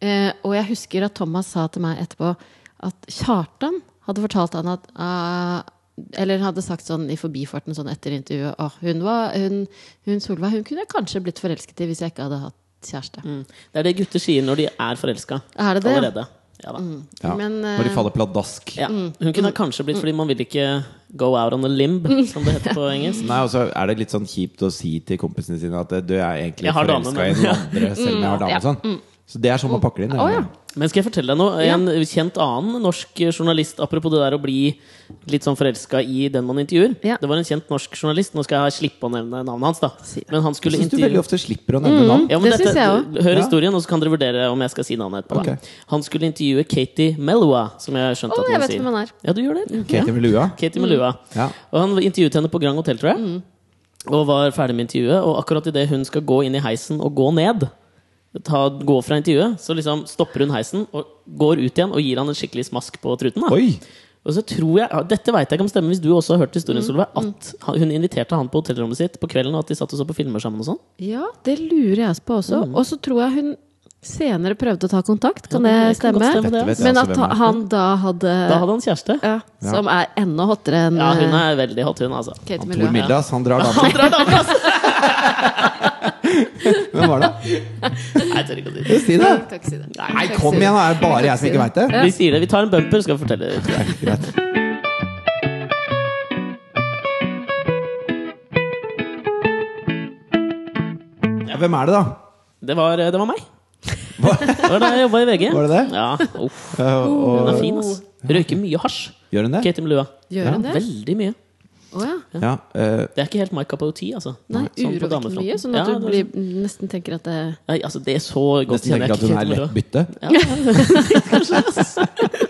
B: Eh, og jeg husker at Thomas sa til meg etterpå at Kjartan hadde fortalt han at ah, Eller hadde sagt sånn i forbifarten sånn etter intervjuet Åh, hun, var, hun, hun Solveig, hun kunne jeg kanskje blitt forelsket i hvis jeg ikke hadde hatt kjæreste.
A: Mm. Det er det gutter sier når de er forelska.
B: Er det det?
A: Allerede. Ja da.
C: Ja.
B: Men, eh,
C: Når de faller pladask.
A: Ja.
B: Mm.
A: Hun kunne kanskje blitt fordi man vil ikke go out on a limb,
B: Mm.
A: som det heter på engelsk.
C: Nei, og så er det litt sånn kjipt å si til kompisene sine at eh, du jeg er egentlig
A: Jeg har dame,
C: forelska i
A: men- Mm,
C: noen andre, selv om jeg har dame. og Sånn. Så det er sånn man pakker det inn. det.
B: Å, ja.
A: Men skal jeg fortelle deg noe? En kjent annen norsk journalist Apropos det der å bli litt sånn forelska i den man intervjuer.
B: Ja.
A: Det var en kjent norsk journalist. Nå skal jeg slippe å nevne navnet hans, da.
B: Si det.
A: Men han skulle
C: Jeg syns du veldig
A: intervjue
C: ofte slipper å nevne navn.
A: Mm. ja, men
B: Det
A: dette-
B: synes jeg også.
A: Hør
C: Ja.
A: historien, og så kan dere vurdere om jeg skal si navnet etterpå. da.
C: Ok.
A: Han skulle intervjue Katie Melua, som jeg har skjønt
B: Å,
A: at
B: jeg
A: man
B: vet
A: sier.
B: hvem han er.
A: Ja, du gjør det? Ja.
C: Katie med lua.
A: Katie Melua.
C: Mm. Ja.
A: Og han intervjuet henne på Grand Hotel, tror jeg.
B: Mm.
A: Og var ferdig med intervjuet. Og akkurat idet hun skal gå inn i heisen og gå ned, ta, gå fra intervjuet, så liksom stopper hun heisen og går ut igjen og gir han en skikkelig smask på truten. Da.
C: Oi!
A: Og så tror jeg, ja, Dette vet jeg ikke om stemmer hvis du også har hørt historien,
B: Mm.
A: Solveig. At han- hun inviterte han på hotellrommet sitt på kvelden, og at de satt og så på filmer sammen og sånn.
B: Ja, det lurer jeg på også.
A: Mm.
B: Og så tror jeg hun senere prøvde å ta kontakt, kan det,
A: Ja, kan godt
B: stemme?
A: stemme det,
C: Dette
A: altså.
C: vet jeg.
B: Men
C: altså
B: at
C: hvem er.
B: han da hadde,
A: Da hadde han kjæreste.
B: ja,
C: Ja.
B: Som er enda hottere enn
A: Ja, hun
B: eh,
A: er veldig hot, hun, altså.
B: Kate
C: Tor
B: Miljø.
C: Mildas, han drar damer. Hvem var det?
A: Nei, jeg tør ikke å si det.
C: Si det!
B: Takk, si det.
C: Nei, kom igjen, da! Er det bare jeg som ikke veit det?
A: Vi sier det. Vi tar en bumper, skal vi fortelle det.
C: Greit. Ja, Hvem er det, da?
A: Det var, det var meg. Det var da jeg jobba i VG.
C: Var det det?
A: Ja, uff,
C: Eh,
A: Hun
C: og,
A: er fin, ass. Røyker mye hasj.
C: gjør hun det?
A: Kate Melua.
B: Gjør hun det?
A: Veldig mye.
B: Å ja.
C: Ja. eh,
A: Det er ikke helt Mike Capoti, altså.
B: Nei,
A: Sånn på
B: urovekkende
A: damefronten.
B: mye. Sånn at
A: Ja,
B: du
A: det-
B: blir, nesten tenker at det
A: Nei, altså, det er så godt
C: nesten
A: kjenner
C: tenker
A: jeg
C: at hun
A: ikke
C: er
A: Kate
C: lett
A: Melua.
C: bytte.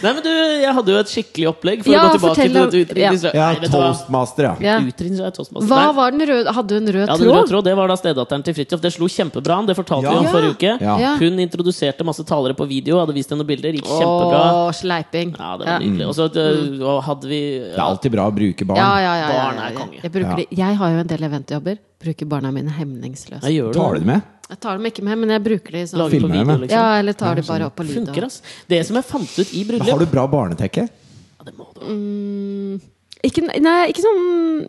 A: Nei, men du, jeg hadde jo et skikkelig opplegg for
B: Ja,
A: å gå tilbake
B: fortell
A: til
B: om-
A: dette utrydningsra-
C: Ja,
A: Nei, vet du hva?
C: toastmaster, ja.
B: ja.
A: Utrydningsra- toastmaster.
B: Hva
A: Nei,
B: var den røde Hadde hun rød
A: Ja, den røde
B: tråd?
A: tråd, det var da stedatteren til Fridtjof. Det slo kjempebra an, det fortalte
C: Ja.
A: vi om
B: Ja.
A: forrige uke.
C: Ja.
B: Ja.
A: Hun introduserte masse talere på video, hadde vist henne noen bilder, gikk kjempebra.
B: Å, sleiping.
A: Ja, det var nydelig. Og så
B: Mm.
A: øh, og hadde vi
C: Det er alltid bra å bruke barn.
B: Ja, ja, ja, ja,
A: Barn
B: ja,
A: er
B: ja.
A: konge.
B: Jeg, bruker
C: Ja.
B: de, jeg har jo en del eventjobber. Bruker barna mine hemningsløst.
A: Jeg gjør
C: Tar du
A: det.
C: det med?
B: Jeg tar dem ikke med, men jeg bruker de sånn.
A: Lager på
C: Filmer
A: video,
C: med.
A: liksom.
B: Ja, eller tar de bare opp på lyd.
A: Funker,
B: og-
A: ass. Det som jeg fant ut i
C: Men Har
A: bryllup
C: du bra barnetekke?
A: ja, det må du.
B: Mm, Ikke, nei, ikke sånn,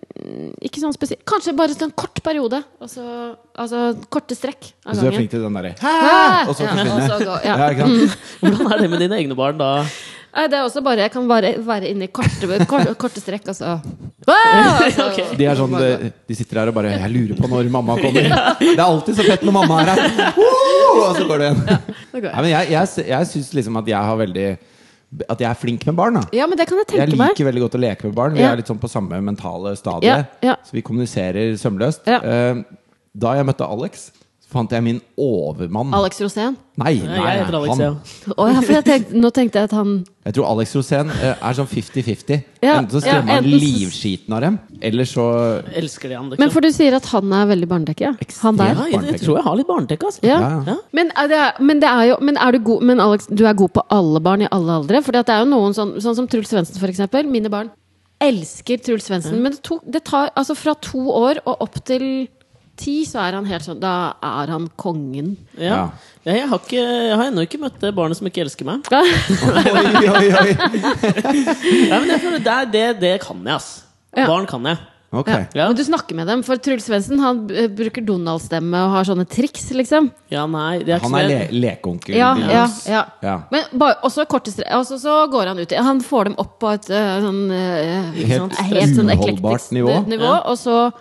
B: ikke sånn spesielt Kanskje bare sånn kort periode. og så- altså korte strekk av
C: Hvis du er
B: gangen.
C: flink til den derre
B: Ah!
C: Og så
B: Ja,
C: forsvinner.
B: og så gå- ja.
C: ja, ikke sant?
A: Hvordan er det med dine egne barn da?
B: Nei, det er også bare Jeg kan bare være inne i korte, kor- korte strekk, og så ah! altså,
A: Ok.
C: De er sånn, de, de sitter her og bare 'Jeg lurer på når mamma kommer'. Det er alltid så fett når mamma er her! Oh, og så går du igjen.
B: det går.
C: Nei, men jeg jeg, sy- jeg syns liksom at jeg har veldig At jeg er flink med barn. da
B: Ja, men det kan jeg
C: Jeg
B: tenke meg.
C: liker veldig godt å leke med barn. Vi
B: Ja.
C: er litt sånn på samme mentale
B: Ja,
C: stadie.
B: ja.
C: Så vi kommuniserer sømløst.
B: Ja.
C: Eh, Da jeg møtte Alex, så fant jeg min overmann.
B: Alex Rosén.
C: Nei, nei,
A: Nei, jeg heter
C: nei,
A: Alex,
C: han.
A: ja.
B: Å, ja, for jeg tenkte, nå tenkte jeg at han
C: Jeg tror Alex Rosén eh, er sånn 50-50.
B: Ja,
C: enten så
B: ja,
C: skremmer han
B: enten så-
C: livskiten av dem, eller så
A: Elsker de han,
B: Men
A: liksom?
B: for du sier at han er veldig barnedekket? Ja. Han der?
A: Ja, jeg, jeg tror jeg har litt barnetekke, altså.
B: Ja.
C: Ja, ja.
B: Men, er det, men det er jo Men, er du, god, men Alex, du er god på alle barn i alle aldre? For det er jo noen sånn, sånn som Truls Svendsen, for eksempel. Mine barn elsker Truls Svendsen. Men det, tok, det tar altså fra to år og opp til ti, så er han helt sånn Da er han kongen.
A: Ja. Ja, Jeg har, ikke, jeg har ennå ikke møtt det barnet som ikke elsker meg.
C: Oi, oi, oi!
A: Ja, men jeg føler det, er- det, det kan jeg, ass.
B: Ja.
A: Barn kan jeg.
C: Ok.
B: Ja.
A: Ja.
B: Men du snakker med dem, for Truls Svendsen han eh, bruker Donald-stemme og har sånne triks, liksom.
A: Ja, nei, det er ikke
C: Han er
A: så
C: le
A: jeg-
C: lekeonkel.
B: Ja,
C: Lars.
B: ja, ja.
C: Ja.
B: Men bare, også korte stre- Og så- så går han ut i- Han får dem opp på et eh, sånn eh,
C: Helt
B: sånn- helt sånn
C: uholdbart
B: eklektisk
C: nivå.
B: nivå
A: Ja.
B: og så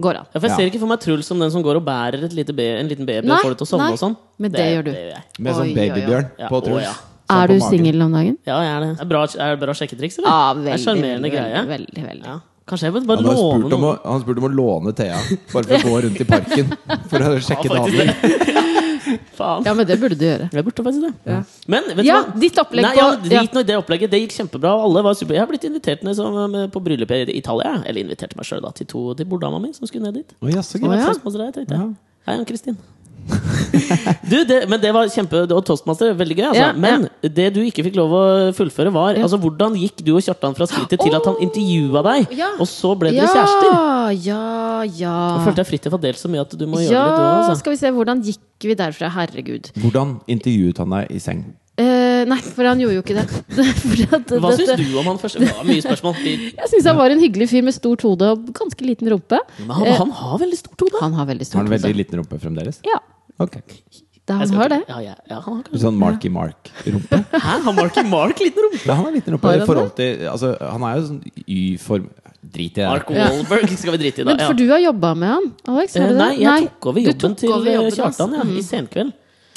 B: går han.
A: ja, for jeg ser
C: Ja.
A: ikke for meg Truls som den som går og bærer et lite be, en liten baby
B: Nei,
A: og får det til å sovne
B: nei,
A: og sånn.
B: men det gjør du.
A: gjør jeg.
C: Med sånn
B: Oi, oi, oi.
C: babybjørn
A: Ja,
C: på
A: å,
C: Truls.
A: ja.
C: Sånn
B: Er
C: på
B: du
C: magen.
B: singel om dagen?
A: Ja, jeg er det. Er, bra, er det bra sjekketriks, eller?
B: Ja,
A: det
B: veldig.
A: er sjarmerende
B: veldig,
A: greie.
B: Veldig, veldig.
A: Ja. Kanskje jeg bør bare
C: Han har
A: låne
C: spurt om,
A: noe.
C: å, han har spurt om å låne Thea, bare for å gå rundt i parken for å sjekke
A: Ja, faktisk
C: damer.
A: Faen.
B: Ja, men det burde du gjøre.
A: Jeg burde faktisk det. Men vet du
B: Ja,
A: hva?
B: ditt opplegg
A: Nei,
B: på-
A: ja,
B: ja.
A: drit nå i det opplegget. Det gikk kjempebra. og Alle var super. Jeg har blitt invitert ned som, eh, på bryllup i Italia. jeg. Eller inviterte meg sjøl til, to- til borddama mi, som skulle ned dit.
C: Å, jaså,
A: Å,
C: greit.
A: ja.
B: ja.
C: Ja.
A: Hei, Ann Kristin. du, det, men det var kjempe Og toastmaster, veldig gøy. Altså.
B: Ja,
A: men det du ikke fikk lov å fullføre, var altså, hvordan gikk du og Kjartan fra skrittet til at han intervjua deg,
B: Ja.
A: og så ble dere
B: Ja,
A: kjærester?
B: ja,
A: Jeg
B: ja.
A: følte jeg Fridtjof har delt så mye at du må gjøre
B: Ja,
A: litt du også, altså.
B: skal vi se. Hvordan gikk vi derfra? Herregud.
C: Hvordan intervjuet han deg i seng?
B: Eh, nei, for han gjorde jo ikke det. For at
A: Hva
B: dette-
A: syns du om han først? Det var mye spørsmål. Vi-
B: Jeg syns han var en hyggelig fyr med stort hode og ganske liten rumpe.
A: Men
B: Eh.
A: han, han har veldig stort hode.
B: Han har veldig
C: Har
B: stort
C: han
B: hode.
C: veldig liten rumpe fremdeles?
B: Ja,
C: Ok
B: det,
A: Jeg
B: han
A: skal
B: har det.
A: ikke- Ja, ja, ja, han har kanskje-
C: Sånn Marky Mark-rumpe?
A: Hæ, har Marky Mark liten rumpe?
C: Ja, han har liten rumpe
B: Har
C: i
B: han
C: forhold til altså, Han er jo sånn Y-form Drit i det.
A: Mark Wahlberg skal vi drite i, da.
B: Men
A: Ja.
B: for du har jobba med han, Alex? Har
A: Eh,
B: du det?
A: Nei, jeg tok over
B: Du
A: jobben
B: tok
A: til
B: over jobben altså.
A: eh,
B: Mm. hans.
A: Kjartan ja, i senkveld.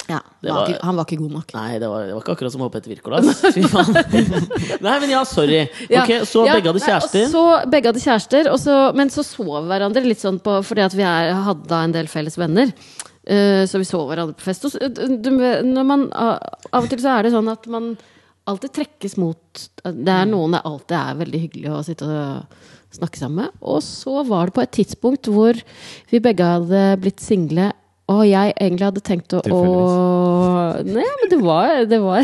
B: Ja,
A: Det
B: han var
A: var-
B: ikke- han var ikke god nok.
A: Nei, det var, det var ikke akkurat som å hoppe etter Wirkola. ass. Fy faen. Nei, men ja, sorry.
B: Ja,
A: Ok, Så
B: ja,
A: begge hadde
B: nei, og
A: kjærester.
B: Så begge hadde kjærester, og så, men så så vi hverandre litt sånn på Fordi at vi er, hadde da en del felles venner. Eh, så vi så hverandre på fest. Og så, eh, du, når man, av av og til så er det sånn at man alltid trekkes mot eh, Det er noen det alltid er veldig hyggelig å sitte og snakke sammen med. Og så var det på et tidspunkt hvor vi begge hadde blitt single. Og jeg egentlig hadde tenkt å, å Nei, men det var, det var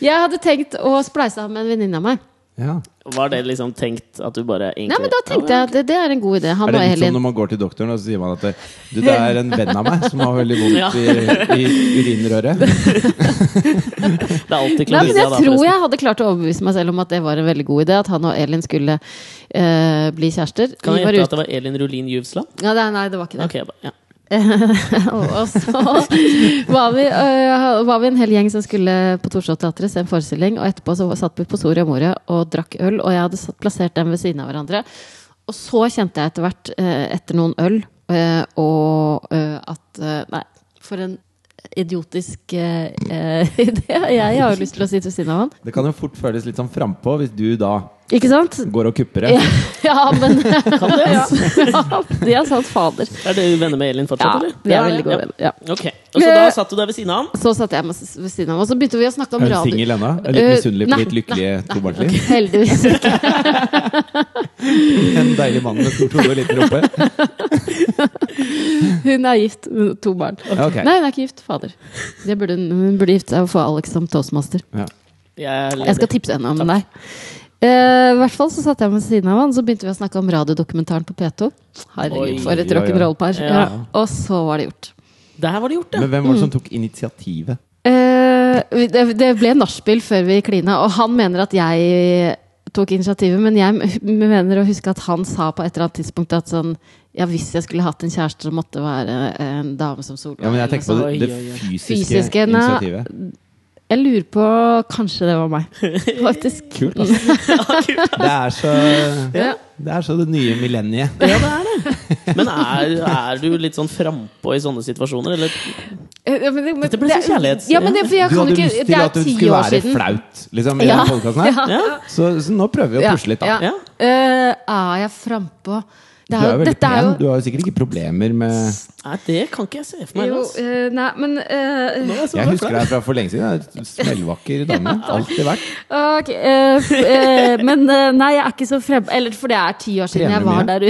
B: Jeg hadde tenkt å spleise av med en venninne av meg.
C: Ja.
A: Var det liksom tenkt at du bare egentlig
B: Nei, men da tenkte
A: Ja,
B: jeg at det, det er en god idé. Han
C: Er det
B: var
C: litt sånn
B: Elin.
C: når man går til doktoren og så sier man at det, du, det er en venn av meg som har veldig
A: Ja.
C: vondt i, i urinrøret?
A: Det er alltid
B: Nei, men
A: klamydia,
B: jeg
A: da,
B: tror
A: forresten.
B: jeg hadde klart å overbevise meg selv om at det var en veldig god idé. At han og Elin skulle eh, bli kjærester.
A: Kan
B: Vi
A: jeg
B: var
A: gjette at
B: ute-
A: det var Elin Rulin Juvsland?
B: Ja, nei, nei, det var ikke det.
A: Ok, jeg bare, ja.
B: og og så var vi, øh, var vi en hel gjeng som skulle på Torshov-teatret se en forestilling. Og etterpå så satt vi på Soria Moria og drakk øl, og jeg hadde satt, plassert dem ved siden av hverandre. Og så kjente jeg etter hvert, eh, etter noen øl, eh, og eh, at eh, Nei, for en idiotisk eh, eh, idé. Jeg, jeg har jo lyst til å sitte ved siden av han.
C: Det kan jo fort føles litt sånn frampå hvis du da
B: Ikke sant?
C: går og kupper det.
B: Ja, ja men
A: Kan det, ja.
B: ja, De er sant fader.
A: Er dere venner med Elin
B: Ja,
A: fortsatt, eller?
B: vi er veldig gode venner. Ja.
A: Ok, og Så da satt du der ved siden av han?
B: Så satt jeg meg s- ved siden av ham, og så begynte vi å snakke om
C: Er hun
B: radio.
C: singel ennå? Er Litt
B: Eh,
C: misunnelig på
B: nei,
C: ditt lykkelige tobarnsliv?
B: Heldigvis ikke.
C: En deilig mann med stort hode og liten rumpe?
B: Hun er gift med to barn.
C: Ja, ok.
B: Nei, hun er ikke gift. Fader. Det burde, hun- hun burde gifte seg og få Alex som toastmaster.
C: Ja.
A: Jeg er
B: Jeg skal
A: ledig.
B: tipse henne om deg. Eh, I hvert fall så satt jeg ved siden av han, så begynte vi å snakke om radiodokumentaren på P2.
A: Oi,
B: Herregud, for et
C: oi, oi.
B: rock'n'roll-par.
A: Ja.
B: Ja. Og så var det gjort.
A: Der var det gjort, ja.
C: Men hvem var det som tok initiativet?
B: Eh, det, det ble nachspiel før vi klina, og han mener at jeg tok initiativet, men jeg m- mener å huske at han sa på et eller annet tidspunkt at sånn Ja, hvis jeg skulle hatt en kjæreste, så måtte det være en dame som Solveig.
C: Ja, men jeg tenker på
A: Oi,
C: det, det
A: oi, oi.
C: fysiske,
B: Fysiske, nei.
C: initiativet.
B: Jeg lurer på Kanskje det var meg. Faktisk.
C: Kult, altså. Det er så
B: Ja.
C: det, er så det nye millenniet.
A: Ja, det er det. Men er, er du litt sånn frampå i sånne situasjoner, eller?
B: Ja, men det- men
A: Dette ble så
B: det er-
A: kjærlighets-
B: Ja, men det, for jeg
C: Du
B: kan
C: hadde
B: jo
C: lyst
B: ikke, det
C: til
B: er
C: at det
B: ti
C: skulle
B: år
C: være
B: siden.
C: flaut, liksom, i
B: Ja.
C: denne podcasten her.
A: Ja.
C: Så, så nå prøver vi å pusle litt, da.
A: Ja.
B: Eh, er jeg frampå? Det
C: Du er jo veldig
B: dette er
C: pen.
B: jo-
C: Du har jo sikkert ikke problemer med
A: Nei, det kan ikke jeg se for meg.
B: Jo,
A: altså.
B: eh, nei, men eh,
A: Nå er jeg så
C: Jeg husker
A: flau.
C: deg fra for lenge siden. Det er en Smellvakker dame. Alltid vært.
B: Ok, eh, f- eh, men eh, nei, jeg er ikke så frem... Eller for det er ti år siden
C: Trener
B: jeg var
C: mye.
B: der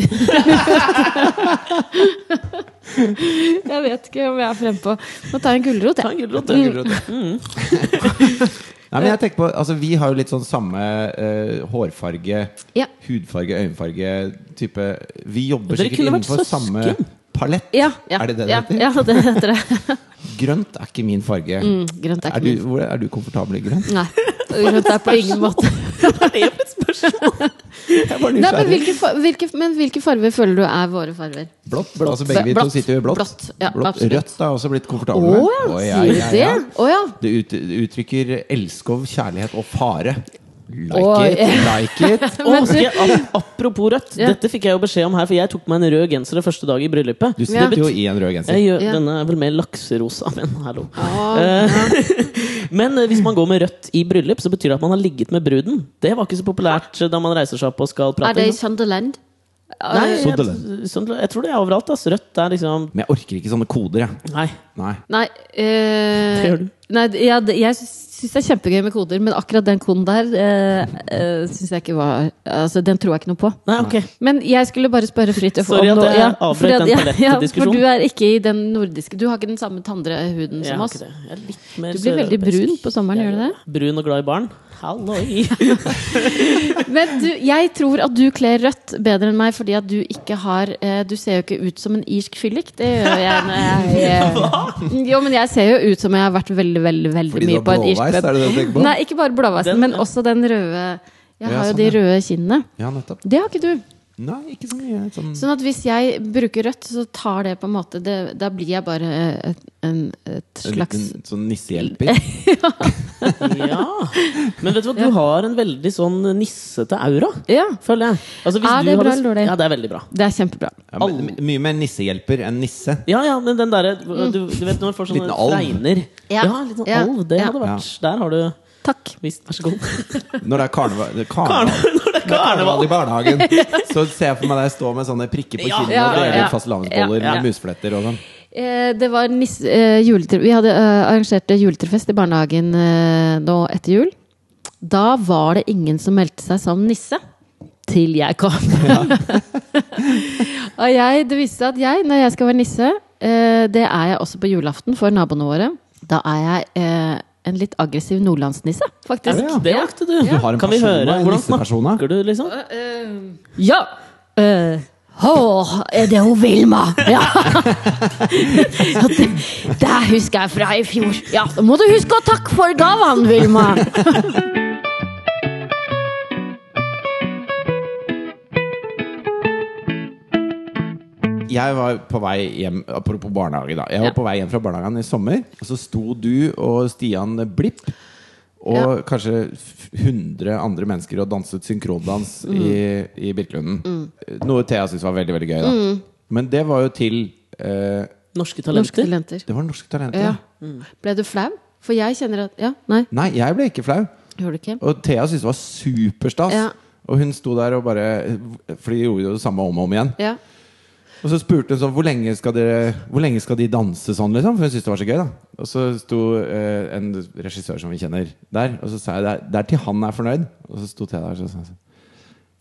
B: ute. jeg vet ikke om jeg er frempå. Nå tar jeg en gulrot,
A: Ta
B: jeg.
A: en gulrot.
C: Nei,
A: du.
C: men jeg tenker på altså, Vi har jo litt sånn samme eh, hårfarge,
B: Ja.
C: hudfarge, øyenfarge type Vi jobber
A: Dere
C: sikkert
A: kunne vært
C: innenfor samme
A: søsken.
C: palett.
B: Mm, Ja, ja,
C: Er det det det
B: ja,
C: heter?
B: Ja, det heter det.
C: Grønt er ikke min farge.
B: Mm, grønt er
C: Er
B: ikke
C: du,
B: min.
C: hvor, er du komfortabel i grønt?
B: Nei. Grønt er på ingen måte.
A: Hva er det for et spørsmål?
C: Jeg var
B: Nei, men,
C: nysgjerrig.
B: hvilke, fa- hvilke, men hvilke farger føler du er våre farger?
C: Blått. Altså, begge vi to
B: Blått.
C: sitter jo i blått.
B: Blått, ja, absolutt.
C: Rødt har jeg også blitt
B: Å
C: komfortabel med. Å,
B: ja, sier du det? Å ja.
C: Det ut, det uttrykker elskov, kjærlighet og fare. Like
B: Oi.
C: it, like it.
A: Å, skal jeg- ap- apropos rødt,
B: Ja.
A: dette fikk jeg jo beskjed om her, for jeg tok meg en rød genser det første dagen i bryllupet.
C: Du
B: Ja.
C: sitter jo i en rød genser.
A: Jeg gjør,
B: Ja.
A: Denne er vel mer lakserosa, men hallo.
B: Å,
A: Men eh, hvis man går med rødt i bryllup, så betyr det at man har ligget med bruden. Det var ikke så populært eh, da man reiser seg opp og skal
B: Er
A: prate.
B: det i
A: liksom.
B: Sunderland?
A: Nei,
B: Eh,
A: jeg,
C: Sunderland.
A: Sunderland- jeg tror det er overalt. Ass. Rødt er liksom
C: Men jeg orker ikke sånne koder, jeg.
A: Nei.
C: Nei.
B: Nei, eh,
A: Det gjør du.
B: nei d- ja, d- jeg syns det er kjempegøy med koder, men akkurat den koden der eh, eh, synes jeg ikke var Altså, Den tror jeg ikke noe på.
A: Nei, ok.
B: Men jeg skulle bare spørre fritt om
A: Sorry at
B: noe-
A: jeg avbrøt
B: fordi at-
A: den
B: for
A: palettdiskusjonen.
B: du er ikke i den nordiske Du har ikke den samme tandrehuden
A: Jeg
B: som
A: har
B: oss.
A: ikke det. Jeg er litt mer
B: Du blir veldig
A: søreuropeisk.
B: brun på sommeren,
A: Jeg
B: gjør du det?
A: Brun og glad i barn? Halloi!
B: Men du, jeg tror at du kler rødt bedre enn meg fordi at du ikke har eh, Du ser jo ikke ut som en irsk fyllik. Det gjør jeg når jeg eh, Jo, men jeg ser jo ut som jeg har vært veldig, veldig, veldig
C: Fordi du
B: mye
C: har
B: på en irsk
C: blåveis,
B: pub.
C: er det det du tenker på?
B: Nei, ikke bare blåveisen,
A: Den-
B: men også den røde Jeg
C: Ja,
B: har jo
C: sånn,
B: de
C: ja.
B: røde kinnene.
C: Ja, nettopp.
B: Det har ikke du.
C: Nei, ikke så mye. Sånn.
B: Sånn at hvis jeg bruker rødt, så tar det på en måte det, Da blir jeg bare eh, et, en, et
C: En
B: slags
C: liten sånn nissehjelper.
A: Ja. Men vet du hva, du har en veldig sånn nissete aura,
B: Ja.
A: føler jeg. Altså,
B: Er
A: du
B: det bra
A: hadde-
B: eller dårlig?
A: Ja, det er veldig bra.
B: Det er kjempebra.
C: Ja, men, mye mer nissehjelper enn nisse.
A: Ja, ja, men den derre øh, du, du vet når man får sånne
C: Liten alv.
A: fregner
B: Mm. Ja.
A: Ja, litt sånn
B: Ja.
A: alv. Det
B: Ja.
A: hadde vært Der har du
B: Takk.
A: visst Vær så god.
C: Når det er karneva- det er karneval,
A: Karne- Når det er karneval!
C: karneval i barnehagen, så ser jeg for meg deg stå med sånne prikker på
A: Ja,
C: kinnet
B: ja,
C: og dele
B: ja.
C: ut fastelavnsboller
A: Ja, ja.
C: med musfletter og sånn.
B: Eh, det var nisse, eh, juletre Vi hadde eh, arrangert juletrefest i barnehagen eh, nå etter jul. Da var det ingen som meldte seg som nisse. Til jeg kom. og jeg, det viste seg at jeg, når jeg skal være nisse, eh, det er jeg også på julaften for naboene våre. Da er jeg eh, en litt aggressiv nordlandsnisse, faktisk.
C: Er
A: Det valgte du.
C: Du har en
A: kan vi
C: persona,
A: høre?
C: en
A: Hvordan
C: nissepersona.
A: snakker du, liksom?
B: Ja! Eh, Å, er det hun Vilma? Ja! ja det, det husker jeg fra i fjor. Ja, Da må du huske å takke for gavene, Vilma!
C: Jeg var på vei hjem Apropos barnehage, da. Jeg var
B: Ja.
C: på vei hjem fra barnehagen i sommer. Og så sto du og Stian Blipp og
B: Ja.
C: kanskje f- 100 andre mennesker og danset synkrondans
B: Mm.
C: i, i Birkelunden. Noe Thea syntes var veldig veldig gøy. da
B: Mm.
C: Men det var jo til eh,
A: Norske
B: Norske
A: talenter.
B: talenter.
C: Det var Norske Talenter.
B: Ja. Mm.
C: Ja.
B: Ble du flau? For jeg kjenner at Ja, nei,
C: Nei, jeg ble ikke flau.
B: gjorde du ikke?
C: Og Thea syntes det var superstas.
B: Ja.
C: Og hun sto der og bare For de gjorde jo det samme om og om igjen.
B: Ja.
C: Og så spurte hun sånn Hvor lenge skal, dere, hvor lenge skal de danse sånn, liksom? For hun syntes det var så gøy, da. Og så sto eh, en regissør som vi kjenner der, og så sa jeg det er, det er til han er fornøyd. Og så sto Thea der og så sa hun sånn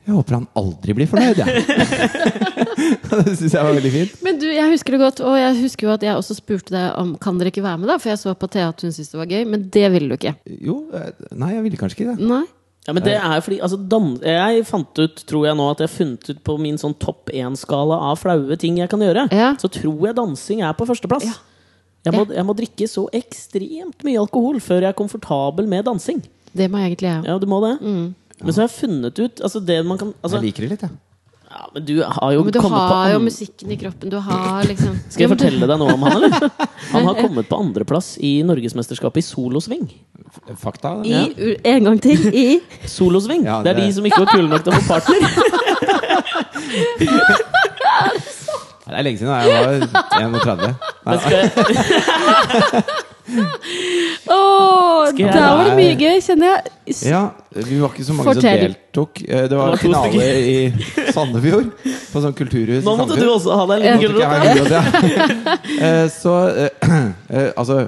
C: Jeg håper han aldri blir fornøyd, jeg. det syns jeg var veldig fint.
B: Men du, jeg husker det godt, og jeg husker jo at jeg også spurte deg om kan dere ikke være med, da? For jeg så på Thea at hun syntes det var gøy, men det ville du ikke.
C: Jo, eh, nei, jeg ville kanskje ikke det.
B: Nei?
A: Ja, men det er jo fordi altså, dan Jeg fant ut, tror jeg nå, at jeg har funnet ut på min sånn topp én-skala av flaue ting jeg kan gjøre.
B: Ja.
A: Så tror jeg dansing er på førsteplass.
B: Ja.
A: Jeg, må, jeg må drikke så ekstremt mye alkohol før jeg er komfortabel med dansing.
B: Det må jeg egentlig jeg òg.
A: Ja, du må det.
B: Mm.
A: Men så har jeg funnet ut altså, det man kan, altså,
C: Jeg liker det litt, jeg.
A: ja, Men du har jo
B: Men du
A: kommet på
B: har jo
A: an-
B: musikken i kroppen. Du har liksom
A: Skal jeg fortelle deg noe om han, eller? Han har kommet på andreplass i Norgesmesterskapet i solosving.
C: F- Fakta?
B: I, u- En gang til. I
A: Solosving!
C: Ja,
A: det... er
C: det-
A: de som ikke var kule nok til å få partner.
C: Nei, Det er lenge siden. da. Jeg var 31. Nei,
A: Men skal jeg,
B: Å,
A: jeg-
B: der var det mye gøy, kjenner jeg. S-
C: Ja, Eh, vi var ikke så mange
B: Fortell.
C: som deltok. Eh, Det var,
A: Det var to
C: finale i Sandefjord, på sånn kulturhus. i
A: nå måtte du
C: Sandefjord.
A: også ha deg en liten
C: Måtte ikke
A: gulrot.
C: jeg ha gulrot, ja. Eh, Så eh, eh, altså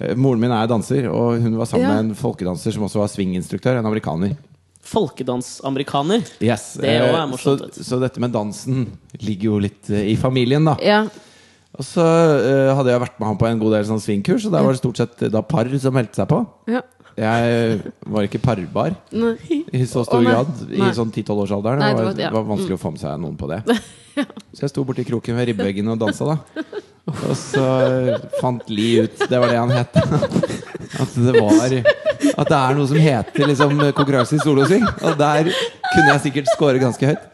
C: eh, Moren min er danser, og hun var sammen
B: Ja.
C: med en folkedanser som også var swinginstruktør, en amerikaner.
A: Folkedansamerikaner.
C: Yes,
A: Det også er
C: eh,
A: morsomt, altså. vet du.
C: Så, så dette med dansen ligger jo litt eh, i familien, da.
B: Ja.
C: Og så eh, hadde jeg vært med han på en god del sånn swingkurs, og der var det stort sett eh, da par som meldte seg på.
B: ja.
C: Jeg var ikke parbar.
B: Nei.
C: I så stor
B: Å, nei.
C: grad, i
B: Nei.
C: sånn 10-12-årsalderen.
B: Nei,
C: Det
B: det
C: var,
B: var- ja.
C: var vanskelig å få med seg noen på det. Så jeg sto borti kroken ved ribbeveggen og dansa, da. Og så fant Lee ut Det var det han het. At det var At det er noe som heter liksom konkurranse i solosving. Og der kunne jeg sikkert score ganske høyt.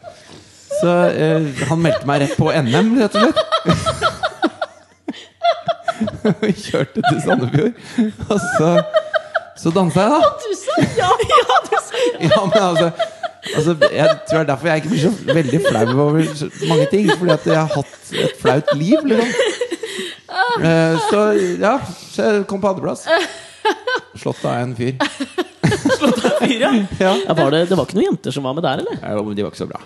C: Så eh, han meldte meg rett på NM, rett og slett. Vi kjørte til Sandefjord, og så, så dansa jeg, da.
B: Du sa ja! ja du sa ja.
C: Ja, men altså, altså Jeg tror det er derfor jeg ikke blir så veldig flau over så mange ting. Fordi at jeg har hatt et flaut liv, liksom. Eh, så ja, så jeg kom på andreplass. Slått av en fyr.
A: Fyra.
C: Ja.
A: Ja, var det, det var ikke noen jenter som var med der, eller?
C: Eh, men de var ikke så bra.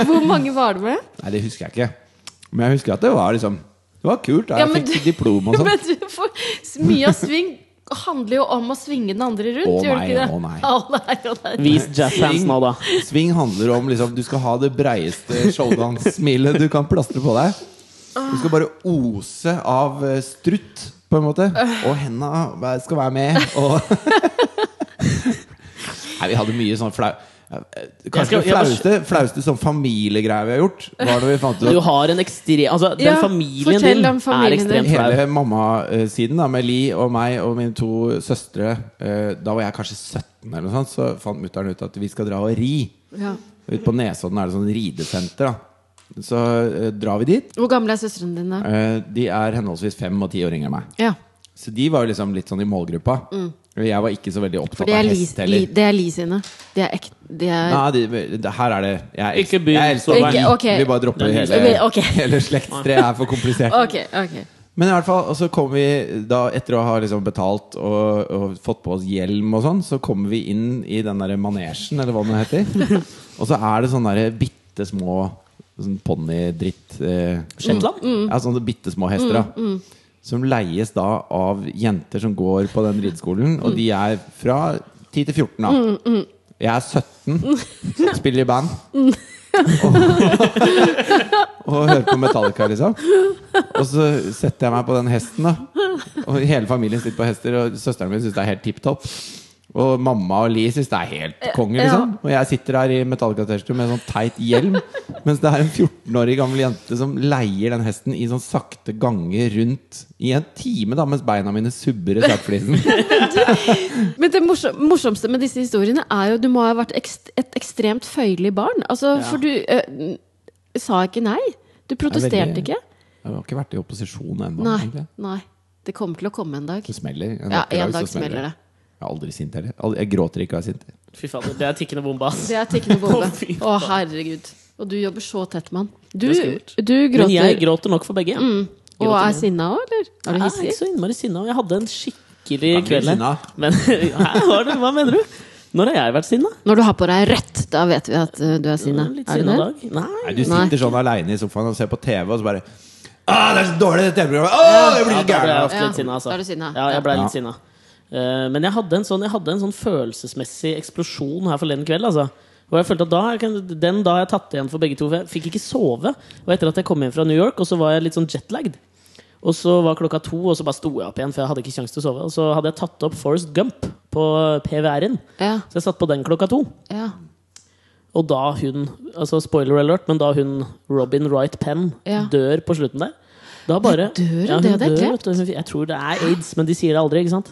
B: Hvor mange var det med?
C: Nei, det husker jeg ikke. Men jeg husker at det var liksom Det var kult. Da.
B: Ja,
C: Jeg
B: men
C: fikk
B: du-
C: diplom og sånn.
B: Men du får, mye av sving handler jo om å svinge den andre rundt,
C: Å,
B: gjør
C: nei,
B: det ikke det?
C: å, nei.
B: Å, nei, å, nei.
A: Vis jazzhands nå, da.
C: Swing handler om liksom, Du skal ha det breieste showdance-smilet du kan plastre på deg. Du skal bare ose av eh, strutt, på en måte. Og henda væ- skal være med. Og Nei, vi hadde mye sånn flau...
A: Jeg
C: Kanskje
A: skal-
C: det
A: jeg må-
C: flaueste, flaueste sånn familiegreia vi har gjort, var da vi fant
A: Du
C: ut at
A: har en ekstrem Altså, den
B: Ja,
A: familien
B: fortell
A: din
B: om familien
A: er ekstremt flau.
C: hele mammasiden, da, med Li og meg og mine to søstre eh, Da var jeg kanskje 17, eller noe sånt, så fant mutter'n ut at vi skal dra og ri.
B: Ja.
C: Ute på Nesodden er det sånn ridesenter. da Så eh, drar vi dit.
B: Hvor gamle er søstrene dine?
C: Eh, de er henholdsvis fem og ti år yngre enn meg.
B: Ja.
C: Så de var jo liksom litt sånn i målgruppa. Jeg var ikke så veldig
B: Mm. For
C: opptatt
B: det
C: av
B: er Li,
C: hest
B: li,
C: heller.
B: det er li sine. Det er ekte Det er
C: Nei, de, det, her er det Jeg er
A: Ikke begynn.
C: jeg er eldst av
B: Ikke-
C: meg.
B: ok.
C: Vi bare dropper
A: Det er
C: hele,
B: ok.
C: hele slektstreet. er for komplisert.
B: Ok, ok.
C: Men i hvert fall, og så kommer vi da etter å ha liksom betalt og, og fått på oss hjelm og sånn, så kommer vi inn i den der manesjen, eller hva den heter. og så er det sånne der bitte små sånn ponnidritt eh,
A: Shetland?
C: Ja, sånne bitte små hester, da. Som leies da av jenter som går på den rideskolen, og de er fra 10 til 14, da. Jeg er 17, spiller i band. og hører på Metallica, liksom. Og så setter jeg meg på den hesten, da. Og hele familien sitter på hester, og søsteren min syns det er helt tipp topp. Og mamma og Lee syns det er helt
B: Eh,
C: konge, liksom. Og jeg sitter her i Metallica-T-skjorte med sånn teit hjelm, mens det er en 14-årig gammel jente som leier den hesten i sånn sakte gange rundt i en time, da, mens beina mine subber i sakflisen.
B: Men det morsom, morsomste med disse historiene er jo du må ha vært ekst, et ekstremt føyelig barn. Altså,
A: Ja.
B: For du eh, n- sa ikke nei. Du protesterte
C: veldig-
B: ikke.
C: Jeg har ikke vært i opposisjon ennå,
B: Nei,
C: egentlig.
B: nei. Det kommer til å komme en dag.
C: Det smeller. En
B: Ja,
C: vakker
B: en
C: så
B: dag smeller det.
C: Jeg er aldri sint heller. Aldri- Jeg gråter ikke av jeg er sint.
A: Fy fader, det er tikkende bombe, ass.
B: Det er tikkende bombe.
A: Å, fy
B: Å, herregud. Og du jobber så tett med han. Du,
A: Det er skummelt.
B: du
A: Men jeg
B: gråter. Mm.
A: gråter nok for begge.
B: Og
A: gråter
B: er
A: nå.
B: sinna òg, eller? Er du
A: Ah, Jeg er
B: hissig?
A: ikke så innmari sinna, og jeg hadde en skikkelig
C: Jeg blir
A: kveld her.
C: sinna.
A: Men Hæ, hva er det- hva mener du? Når har jeg vært sinna?
B: Når du har på deg rødt, da vet vi at eh, du er sinna.
A: Litt
B: Er du
A: sinna
B: det?
A: dag? Nei.
C: Nei, du sitter
B: Nei.
C: sånn aleine i sofaen og ser på TV, og så bare ah, det er så dårlig, det TV-programmet! Åh, jeg
A: Ja,
C: blir så
A: da ble jeg
C: gæren!
A: ofte
B: Ja,
A: litt sinna, altså.
B: da er du sinna.
A: Ja, jeg ble
C: Ja.
A: litt sinna. Eh, Men jeg hadde, en sånn, jeg hadde en sånn følelsesmessig eksplosjon her forleden kveld, altså. Og jeg følte at da, Den da har jeg tatt igjen for begge to. For jeg fikk ikke sove. Og etter at jeg kom hjem fra New York, og så var jeg litt sånn jetlagd. Og så var klokka to, og så bare sto jeg opp igjen, for jeg hadde ikke kjangs til å sove. Og så hadde jeg tatt opp Forest Gump på PVR-en.
B: Ja,
A: Så jeg satt på den klokka to.
B: ja.
A: Og da hun, altså spoiler alert, men da hun Robin Wright Penn
B: Ja.
A: dør på slutten der da bare,
B: Hun dør, det hadde jeg glemt.
A: vet du. Hun- Jeg tror det er aids, men de sier det aldri. ikke sant?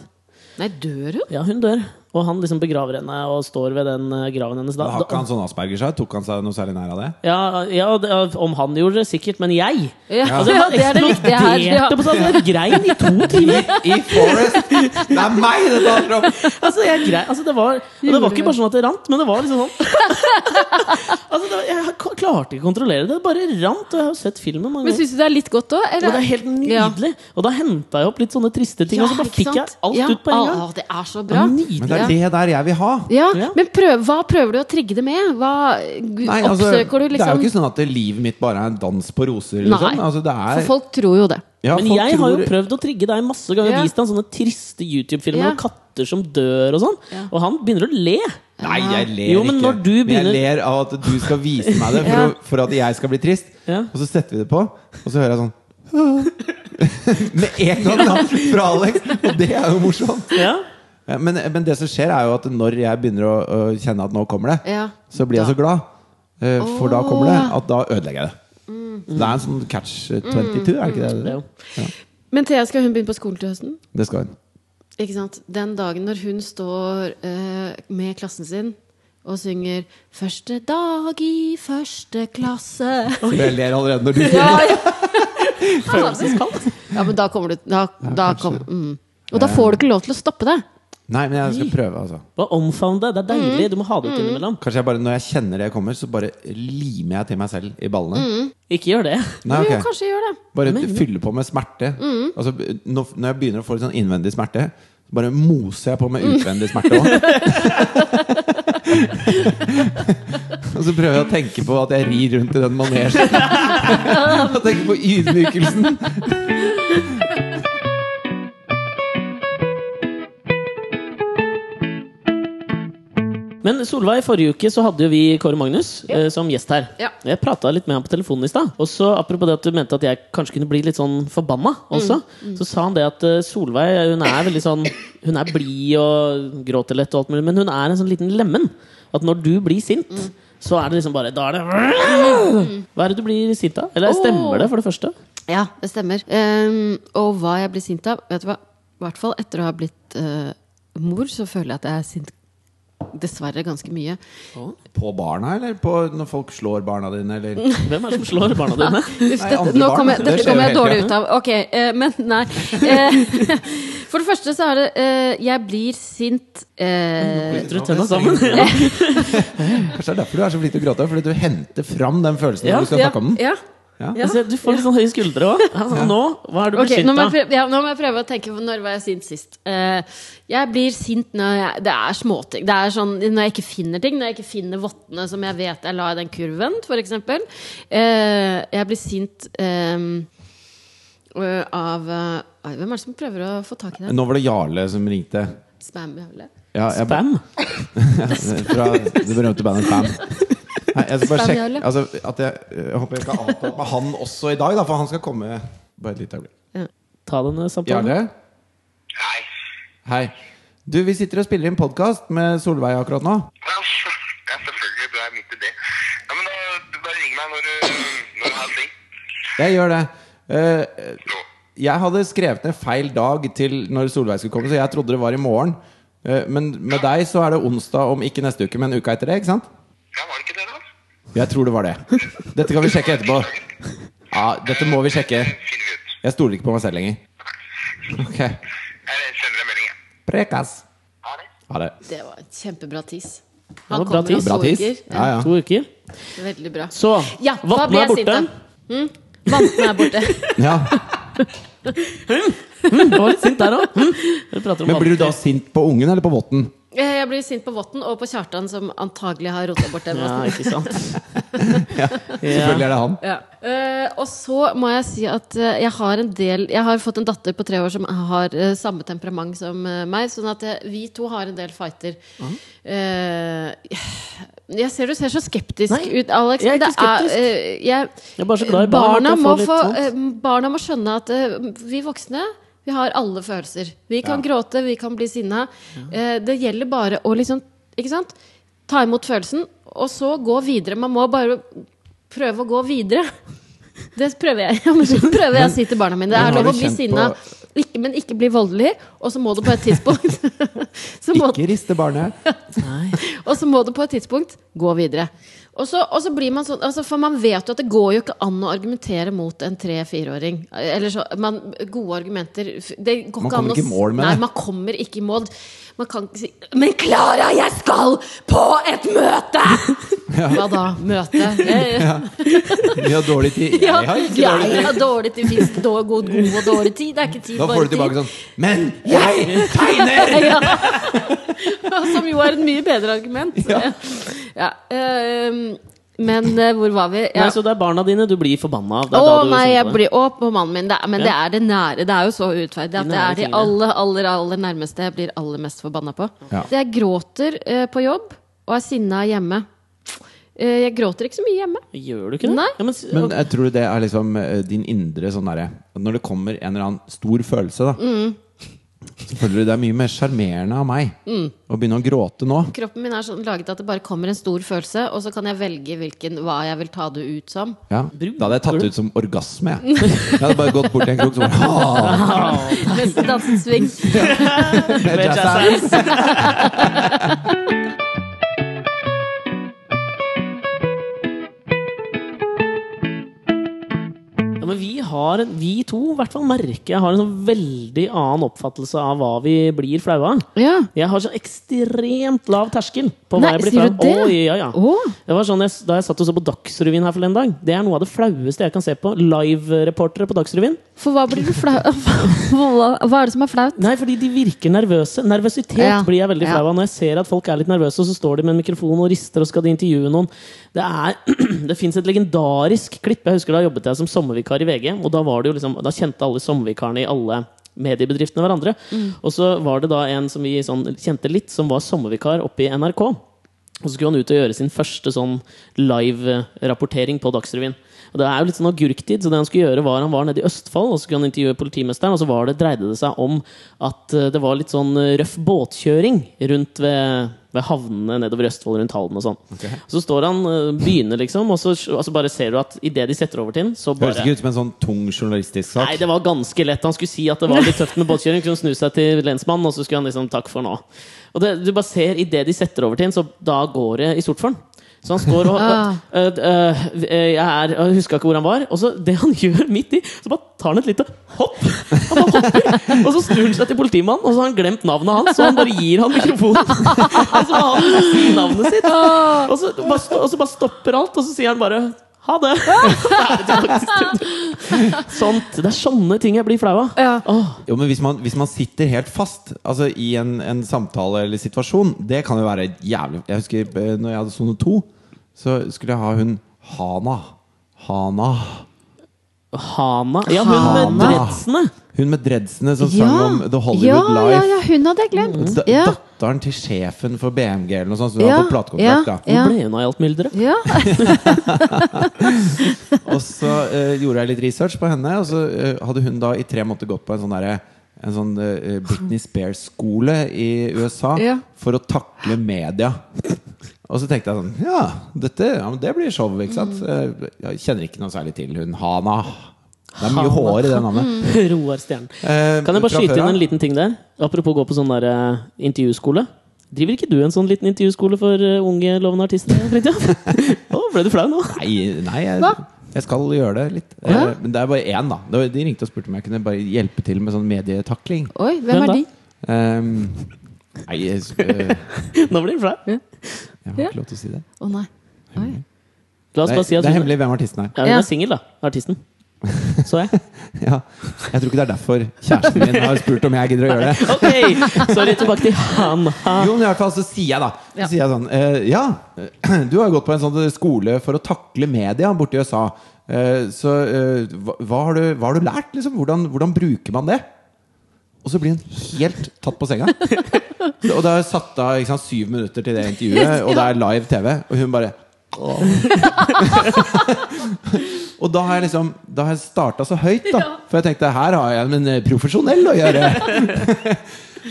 B: Nei, dør hun?
A: Ja, hun dør. Og han liksom begraver henne og står ved den eh, graven hennes da.
C: Da har ikke han sånn Asperger seg? Tok han seg noe særlig nær av det?
A: Ja, ja, det- om han gjorde det, sikkert, men jeg
B: Ja,
A: altså,
B: ja,
A: jeg
B: det er det viktige her. Ja.
A: eksploderte på sånn, jeg grein i to timer!
C: I Forest! Det er meg det handler om!
A: Altså, jeg grei, altså, det var, og det var ikke bare sånn at det rant, men det var liksom sånn altså, det var, Jeg k- klarte ikke å kontrollere det. Det bare rant, og jeg har jo sett filmen mange
B: Men
A: ganger.
B: syns du det er litt godt òg?
A: Og det er helt nydelig. Og da henta jeg opp litt sånne triste ting, og så bare fikk jeg alt ut på en gang.
B: Å, det er så
A: Det
B: bra.
A: var
C: Men
A: nydelig.
C: det er det der jeg vil ha!
B: Ja,
A: Ja.
B: men prøv, hva prøver du å trigge det med? Hva gu-
C: Nei, altså,
B: oppsøker du
C: Det er
B: liksom?
C: jo ikke sånn at livet mitt bare er en dans på roser. Liksom.
B: Nei.
C: Altså, det er,
B: For folk tror jo det.
C: ja,
A: Men
C: folk
A: jeg har jo
C: tror-
A: prøvd å trigge deg masse ganger.
B: Ja.
A: Vist deg sånne triste YouTube-filmer
B: Ja.
A: om katter som dør og sånn.
B: Ja.
A: Og han begynner å le.
C: Nei, jeg ler
A: Jo, men
C: ikke.
A: når du begynner-
C: Jeg ler av at du skal vise meg det for,
B: Ja.
C: å, for at jeg skal bli trist.
A: Ja.
C: Og så setter vi det på, og så hører jeg sånn Med en gang da, fra Alex! Og det er jo morsomt.
A: Ja.
C: Ja, Men, men det som skjer, er jo at når jeg begynner å, å kjenne at nå kommer det,
B: Ja.
C: så blir jeg
B: Da.
C: så glad. Eh, For da kommer det at da ødelegger jeg det.
B: Mm.
C: Så det er en sånn catch 22, er det ikke
A: Det
C: det?
A: er jo-
B: Men Thea, skal hun begynne på skolen til høsten?
C: Det skal hun.
B: Ikke sant? Den dagen når hun står eh, med klassen sin og synger 'Første dag i første klasse'
C: Jeg ler allerede når du sier
B: Ja, ja. ja men da kommer du da, da kom, mm. Og da får du ikke lov til å stoppe det.
C: Nei, men jeg skal prøve, altså.
A: Bare omfavn det. Det er deilig. Du må ha det ut innimellom.
C: Kanskje jeg bare, Når jeg kjenner det kommer, så bare limer jeg til meg selv i ballene.
A: Ikke gjør det.
C: Nei, ok.
B: Jo, kanskje gjør det.
C: Bare fylle på med smerte.
A: Mm.
C: Altså, når, når jeg begynner å få litt sånn innvendig smerte, så bare moser jeg på med utvendig smerte òg. og så prøver jeg å tenke på at jeg rir rundt i den manesjen. og tenke på ydmykelsen.
A: Men Solveig, forrige uke så hadde jo vi Kåre Magnus eh, som gjest her.
B: Ja.
A: Jeg prata litt med han på telefonen i stad. Og så apropos det at du mente at jeg kanskje kunne bli litt sånn forbanna også,
B: Mm,
A: så sa han det at eh, Solveig hun er veldig sånn Hun er blid og gråter lett og alt mulig, men hun er en sånn liten lemen. At når du blir sint,
B: Mm.
A: så er det liksom bare Da er det Hva er det du blir sint av? Eller
B: Åh.
A: stemmer det, for det første?
B: Ja, det stemmer. Ehm, og hva jeg blir sint av Vet du hva? I hvert fall etter å ha blitt eh, mor, så føler jeg at jeg er sint dessverre ganske mye.
C: På barna, eller på når folk slår barna dine, eller
A: Hvem er det som slår barna dine?
B: Uff,
C: Nei,
B: dette,
C: andre
B: nå
C: barn,
B: kom jeg,
C: det
B: dette
C: skjer
B: kom jeg
C: jo hele
B: dårlig ut av. Ok, eh, men nei. Eh, for det første så er det eh, Jeg blir sint eh,
A: Biter du tenna sammen?
C: Kanskje det er derfor du er så flink til å gråte, fordi du henter fram den følelsen
A: Ja,
C: når du skal snakke om den.
B: ja.
C: Ja.
A: Jeg ser- Du får litt sånn høye skuldre òg. Altså, nå, hva er det du
B: Ok,
A: blir
B: nå
A: sint
B: må, jeg
A: av?
B: prøve, ja, nå må jeg prøve å tenke på når var jeg sint sist. Eh, jeg blir sint når jeg, det er småting. Det er sånn, når jeg ikke finner ting. Når jeg ikke finner vottene som jeg vet jeg la i den kurven, f.eks. Uh, jeg blir sint ehm, eh, øh, av eh, oi, Hvem er det som prøver å få tak i den?
C: Nå var det Jarle som ringte.
B: Spam? eller?
C: Ja, jeg,
A: Spam?
C: fra det berømte bandet Spam. Nei, jeg skal bare
B: Spaniale.
C: sjekke altså, at jeg, jeg håper jeg ikke har avtalt med han også i dag, da, for han skal komme Bare et lite øyeblikk.
A: Ta denne samtalen.
C: Jarle?
D: Nei.
C: Hei. Du, vi sitter og spiller inn podkast med Solveig akkurat nå.
D: Ja, ja, selvfølgelig. Du er midt i det. Ja, men da, du bare ring meg når du, når du har ting.
C: Jeg gjør det. Eh,
D: Nå.
C: jeg hadde skrevet ned feil dag til når Solveig skulle komme, så jeg trodde det var i morgen. Eh, men med deg så er det onsdag om ikke neste uke, men uka etter det, ikke sant?
D: Ja, var det ikke det, da?
C: Jeg tror det var det. Dette kan vi sjekke etterpå. Ja, dette må vi sjekke.
D: Finner vi ut.
C: Jeg stoler ikke på meg selv lenger. Ok.
D: Jeg sender deg melding, jeg.
C: Prekas.
D: Ha det.
C: Ha det.
B: Det var et kjempebra tiss.
A: var
B: Han
A: bra
B: kommer og
A: tiss.
C: Bra tiss.
B: sorger.
C: Ja, ja.
A: To uker.
B: Veldig bra.
A: Så
B: Ja, da
A: Vatne
B: ble
A: er
B: jeg sint,
A: borte.
B: da. Mm. Vanten er borte.
C: ja.
A: Jeg var litt sint der òg.
C: Men blir du da sint på ungen eller på votten?
B: Eh, Jeg blir sint på Votten og på Kjartan, som antagelig har rota bort den.
A: Ja,
B: vatten.
A: ikke sant.
C: Selvfølgelig er det han.
B: Ja. Eh, og så må jeg si at eh, jeg har en del Jeg har fått en datter på tre år som har eh, samme temperament som eh, meg. Sånn at eh, vi to har en del fighter. Eh, jeg ser du ser så skeptisk
A: Nei,
B: ut, Alex.
A: jeg er
B: men
A: ikke skeptisk.
B: eh, jeg,
A: Jeg er bare så glad i barn at
B: barna,
A: jeg
B: må
A: får litt
B: få,
A: sånt.
B: eh, barna må skjønne at eh, vi voksne vi har alle følelser. Vi kan
C: Ja.
B: gråte, vi kan bli sinna. Eh, det gjelder bare å liksom Ikke sant? Ta imot følelsen, og så gå videre. Man må bare prøve å gå videre. Det prøver jeg. Ja, men så prøver jeg å si til barna mine. Det
C: men
B: er
C: har
B: lov å
C: du
B: bli
C: kjent
B: sinna,
C: på-
B: ikke, men ikke bli voldelig. Og så må du på et tidspunkt så må,
C: Ikke riste barnet.
B: og så må du på et tidspunkt gå videre. Og så, og så blir man sånn altså For man vet jo at det går jo ikke an å argumentere mot en tre-fireåring. Eller så, man, gode argumenter det går
C: Man
B: ikke an å
C: kommer ikke i
B: s-
C: mål med
B: Nei,
C: det.
B: man kommer ikke i mål. Man kan ikke si 'Men Klara, jeg skal på et møte!' Hva da? Møte? Jeg,
C: Vi har dårlig tid. Jeg
B: ja,
C: har ikke
B: jeg
C: dårlig tid.
B: har dårlig tid. Fins god, god og dårlig tid? Det er ikke tid,
C: Da
B: bare
C: får du tilbake
B: tid.
C: sånn Men jeg tegner! sånn.
B: Som jo er et mye bedre argument. Ja. ehm, men eh, hvor var vi? Ja.
A: Nei, så det er barna dine du blir forbanna av. Det
B: Å
A: er da du
B: nei,
A: sånn
B: jeg
A: på det.
B: blir opp på mannen min. Det er, men det
A: Ja.
B: er det nære. Det er jo så urettferdig at det
A: nære
B: er de
A: tingene.
B: aller, aller, aller nærmeste jeg blir aller mest forbanna på.
C: Ja.
B: Så Jeg gråter eh, på jobb og er sinna hjemme. Eh, jeg gråter ikke så mye hjemme.
A: Gjør du ikke det?
B: Nei.
A: Ja, men, s-
C: Men jeg tror det er liksom eh, din indre sånn derre Når det kommer en eller annen stor følelse, da.
B: Mm.
C: Så føler du det er mye mer sjarmerende av meg
B: Mm.
C: å begynne å gråte nå.
B: Kroppen min er sånn laget at det bare kommer en stor følelse, og så kan jeg velge hvilken, hva jeg vil ta det ut som.
C: Ja.
A: Bruker
C: Da hadde jeg tatt
A: du?
C: det ut som orgasme, jeg. Jeg hadde bare gått bort til en krok som bare
B: Mens du danser swing.
A: Med jazz hands. Ja, men vi, har, en- vi to i hvert fall merker jeg har en sånn veldig annen oppfattelse av hva vi blir flaue av.
B: Ja.
A: Jeg har sånn ekstremt lav terskel på hva
B: Nei,
A: jeg blir flau
B: sier
A: av.
B: du det?
A: Oi, ja, ja.
B: Å.
A: Det var sånn jeg, da jeg satt og så på Dagsrevyen her forleden dag. Det er noe av det flaueste jeg kan se på. Live-reportere på Dagsrevyen.
B: For hva blir du flau av? Hva hva er det som er flaut?
A: Nei, fordi de virker nervøse. Nervøsitet
B: Ja,
A: blir jeg veldig
B: ja.
A: flau av. Når jeg ser at folk er litt nervøse, og så står de med en mikrofon og rister, og skal de intervjue noen. Det, er, det fins et legendarisk klipp. Jeg husker da jobbet jeg som sommervikar i VG, og da, var det jo liksom, da kjente alle sommervikarene i alle mediebedriftene hverandre.
B: Mm.
A: Og så var det da en som vi sånn, kjente litt, som var sommervikar oppe i NRK. Og så skulle han ut og gjøre sin første sånn live-rapportering på Dagsrevyen. Og det er jo litt sånn agurktid, så det han skulle gjøre var han var nede i Østfold og så skulle han intervjue politimesteren, og så var det, dreide det seg om at eh, det var litt sånn eh, røff båtkjøring rundt ved, ved havnene nedover i Østfold, rundt Halden og sånn. Så står han, eh, begynner liksom, og så altså bare ser du at idet de setter over til den, så bare
C: Høres ikke ut som en sånn tung journalistisk sak.
A: Nei, det var ganske lett. Han skulle si at det var litt tøft med båtkjøring. Så kunne han snu seg til lensmannen, og så skulle han liksom 'takk for nå'. Og det, du bare ser idet de setter over til ham, så da går det i sort for ham. Så han står og,
B: Ah.
A: og øh, øh, øh, Jeg er Jeg huska ikke hvor han var. Og så det han gjør midt i, så bare tar han et lite hopp. Han bare hopper, og så snur han seg til politimannen, og så har han glemt navnet hans, og han bare gir han mikrofonen. Og så har han liksom si navnet sitt. Og så, bare, sto- og så bare stopper alt, og så sier han bare ha det! Det er faktisk- Sånt. Det er sånne ting jeg blir flau av.
B: Ja.
A: Åh,
C: Jo, men hvis man, hvis man sitter helt fast Altså i en, en samtale eller situasjon, det kan jo være jævlig Jeg husker eh, når jeg hadde sone to, så skulle jeg ha hun Hana. Hana.
A: Hana Ja, hun med
C: Hana.
A: dreadsene!
C: Hun med dreadsene som sang om The Hollywood
B: ja,
C: Life. Mm.
B: ja, ja, hun hadde jeg glemt.
C: Da,
B: Ja.
C: datteren til sjefen for BMG eller noe sånt, som
B: Ja,
C: var på platekontrakt.
B: ja,
A: Hvor
C: da.
A: ble hun av i alt mylderet?
B: Ja.
C: Og så eh, gjorde jeg litt research på henne, og så eh, hadde hun da i tre måneder gått på en sånn derre en sånn eh, Britney Spears-skole i USA
B: Ja.
C: for å takle media. Og så tenkte jeg sånn Ja, dette, ja men det blir show, ikke sant? Eh, Jeg kjenner ikke noe særlig til hun Hana. Det er mye
A: Hana.
C: hår i det navnet. Eh,
A: Roar Stjernen. Kan jeg bare skyte inn en liten ting der? Apropos gå på sånn der eh, intervjuskole. Driver ikke du en sånn liten intervjuskole for eh, unge lovende artister? Fridtjof? Å, ble du flau nå?
C: Nei, nei jeg,
B: Hva?
C: jeg skal gjøre det litt.
B: Ja.
C: Eh, Men det er bare én, da. Det var- De ringte og spurte om jeg kunne bare hjelpe til med sånn medietakling.
B: Oi,
A: Hvem
B: hvem er
A: da?
B: de?
C: Ehm, nei, jeg, eh,
A: Nå blir du flau.
C: jeg har
B: Ja.
C: ikke lov til å si det.
B: Å nei.
C: Mm.
B: Oi.
A: La oss
C: Det er,
A: bare si at
C: det er
A: hun,
C: hemmelig hvem artisten er.
A: ja, hun
B: Ja.
A: er singel, da. Artisten. Så jeg.
C: Ja. Jeg tror ikke det er derfor kjæresten min har spurt om jeg gidder å gjøre det.
A: Ok! Sorry, tilbake til han. Ha.
C: Jo, men i hvert fall så sier jeg da Så
B: Ja.
C: sier jeg sånn eh, Ja, du har jo gått på en sånn skole for å takle media borte i USA. Eh, så eh, hva, hva, har du, hva har du lært? Liksom? Hvordan, hvordan bruker man det? Og så blir hun helt tatt på senga. Så- Og det er satt av ikke sant, syv minutter til det intervjuet, og det er live TV. Og hun bare «Åh». Og da har jeg liksom Da har jeg starta så høyt, da. For jeg tenkte her har jeg med en profesjonell å gjøre.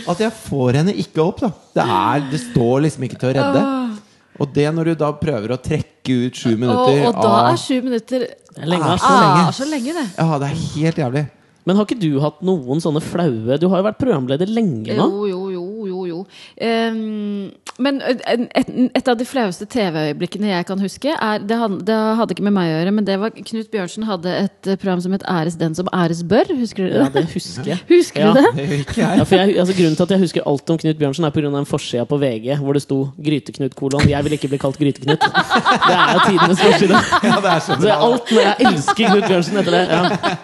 C: At jeg får henne ikke opp, da. Det, er, det står liksom ikke til å redde. Og det når du da prøver å trekke ut sju
B: Og,
C: minutter
B: og da
C: av-
B: er sju minutter
A: Det er lenge, ass.
C: Så lenge.
B: Ah, så lenge, det.
C: Ja, det er helt jævlig.
A: Men har ikke du hatt noen sånne flaue Du har jo vært programleder lenge nå.
B: Jo, jo, jo, jo, jo. Ehm, men et, et, et av de flaueste TV-øyeblikkene jeg kan huske er, det, han- det hadde ikke med meg å gjøre, men det var Knut Bjørnsen hadde et eh, program som het Æres den som æres bør. Husker dere
A: Ja,
B: det?
A: det husker jeg.
B: Husker
A: Ja.
B: du det?
C: Det gjør ikke
A: Ja,
C: jeg.
A: for jeg, altså, grunnen til at jeg husker alt om Knut Bjørnsen, er pga. den forsida på VG hvor det sto 'Gryteknut kolon'. Jeg vil ikke bli kalt Gryteknut. Det er jo tidenes forside.
C: Ja, det er så
A: Så jeg,
C: bra.
A: alt når jeg elsker Knut Bjørnsen etter det. Ja.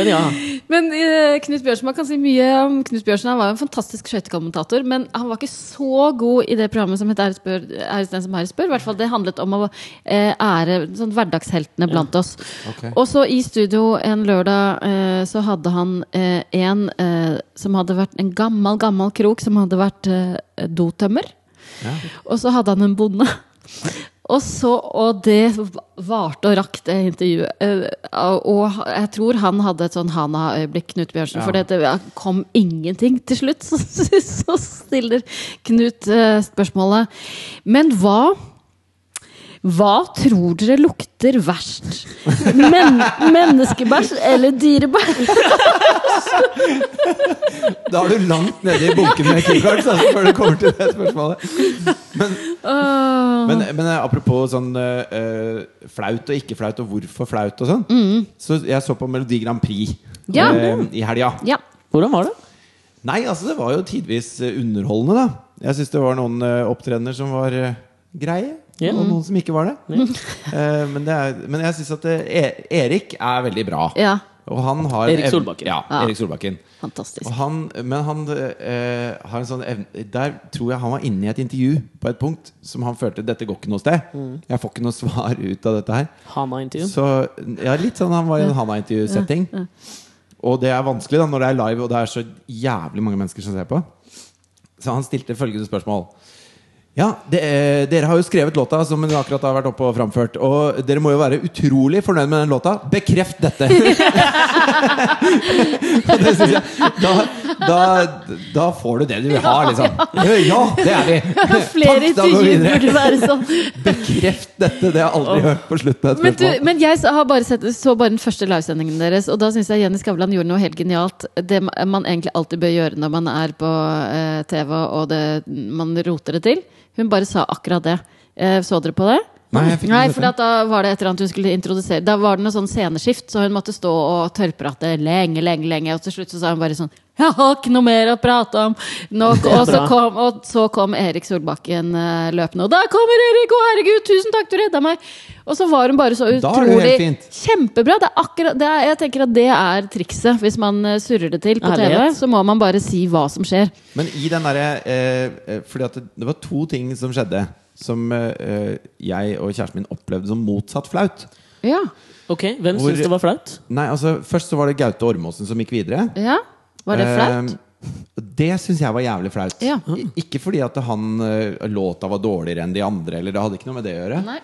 A: Men ja.
B: Men eh, Knut Bjørnsen man kan si mye om Knut Bjørnsen. Han var jo en fantastisk skøytekommentator, men han var ikke så god i det programmet som het Æres, bør, æres den som æres bør. I hvert fall det handlet om å eh, ære sånn, hverdagsheltene blant oss.
C: Ok.
B: Og så i studio en lørdag eh, så hadde han eh, en eh, som hadde vært en gammel, gammel krok som hadde vært eh, dotømmer. Og så hadde han en bonde. Og, så, og det varte og rakk det intervjuet. Eh, Og jeg tror han hadde et sånn Hana-øyeblikk, Knut Bjørnsen. For det- det kom ingenting til slutt. Så, så stiller Knut eh, spørsmålet Men hva hva tror dere lukter verst? Men, menneskebæsj eller dyrebæsj?
C: Da er du langt nede i bunken med Keycards altså, før du kommer til det spørsmålet.
B: Åh.
C: Men, men eh, apropos sånn eh, eh, flaut og ikke flaut, og hvorfor flaut og sånn. Så jeg så på Melodi Grand Prix
B: Mm. Ja.
C: eh, i helga.
B: Ja.
A: Hvordan var det?
C: Nei, altså det var jo tidvis eh, underholdende, da. Jeg syns det var noen eh, opptredener som var eh, greie,
A: Ja.
C: og noen som ikke var det. Eh, men, det er, men jeg syns at eh, E- Erik er veldig bra.
B: ja.
C: Og han har
A: Erik
C: ev-
A: Solbakken.
C: Ja,
B: Ja.
C: Erik Solbakken.
B: Fantastisk.
C: Og han, men han eh, har en sånn evne Der tror jeg han var inne i et intervju på et punkt som han følte dette går ikke noe sted.
B: Mm.
C: Jeg får ikke noe svar ut av dette her.
A: Hana-intervju.
C: Så ja, litt sånn han var i en Hanna-intervjusetting. Og det er vanskelig da når det er live og det er så jævlig mange mennesker som ser på. Så han stilte følgende spørsmål. Ja, det, eh, Dere har jo skrevet låta som dere akkurat har vært oppe og framført. Og dere må jo være utrolig fornøyd med den låta. Bekreft dette! Og det synes jeg, da, da, da får du det du vil ha, liksom. Ja, det er vi!
B: Flere
C: Takk, da går vi
B: intervjuer
C: videre.
B: burde være sånn.
C: Bekreft dette! Det har jeg aldri hørt på slutten av et
B: Men, du,
C: spørsmål.
B: men jeg så- har bare sett, så bare den første livesendingen deres, og da syns jeg Jenny Skavlan gjorde noe helt genialt. Det ma- man egentlig alltid bør gjøre når man er på eh, TV og det, man roter det til. Hun bare sa akkurat det. Eh, så dere på det?
C: Nei, jeg fikk ikke sett
B: for
C: det.
B: at da var det et eller annet hun skulle introdusere Da var det noe sånn sceneskift, så hun måtte stå og tørrprate lenge, lenge, lenge. Og til slutt så sa hun bare sånn Jeg har ikke noe mer å prate om! Nok. Og, så
A: bra.
B: kom, og så kom Erik Solbakken eh, løpende. Og da kommer Erik! Å, herregud, tusen takk, du redda meg! Og så var hun bare så
C: Da er det jo
B: utrolig
C: helt fint.
B: Kjempebra! Det er akkurat, det er, jeg tenker at det er trikset. Hvis man eh, surrer det til på TV,
A: Ærlighet.
B: så må man bare si hva som skjer.
C: Men i den derre eh, eh, Fordi at det, det var to ting som skjedde som eh, eh, jeg og kjæresten min opplevde som motsatt flaut.
B: Ja.
A: Ok, Hvem
C: Hvor-
A: syns det var flaut?
C: Nei, altså Først så var det Gaute Ormåsen som gikk videre.
B: ja. Var det flaut?
C: Eh, Det syns jeg var jævlig flaut.
B: Ja.
C: I- Ikke fordi at han eh, låta var dårligere enn de andre, eller det hadde ikke noe med det å gjøre.
B: Nei.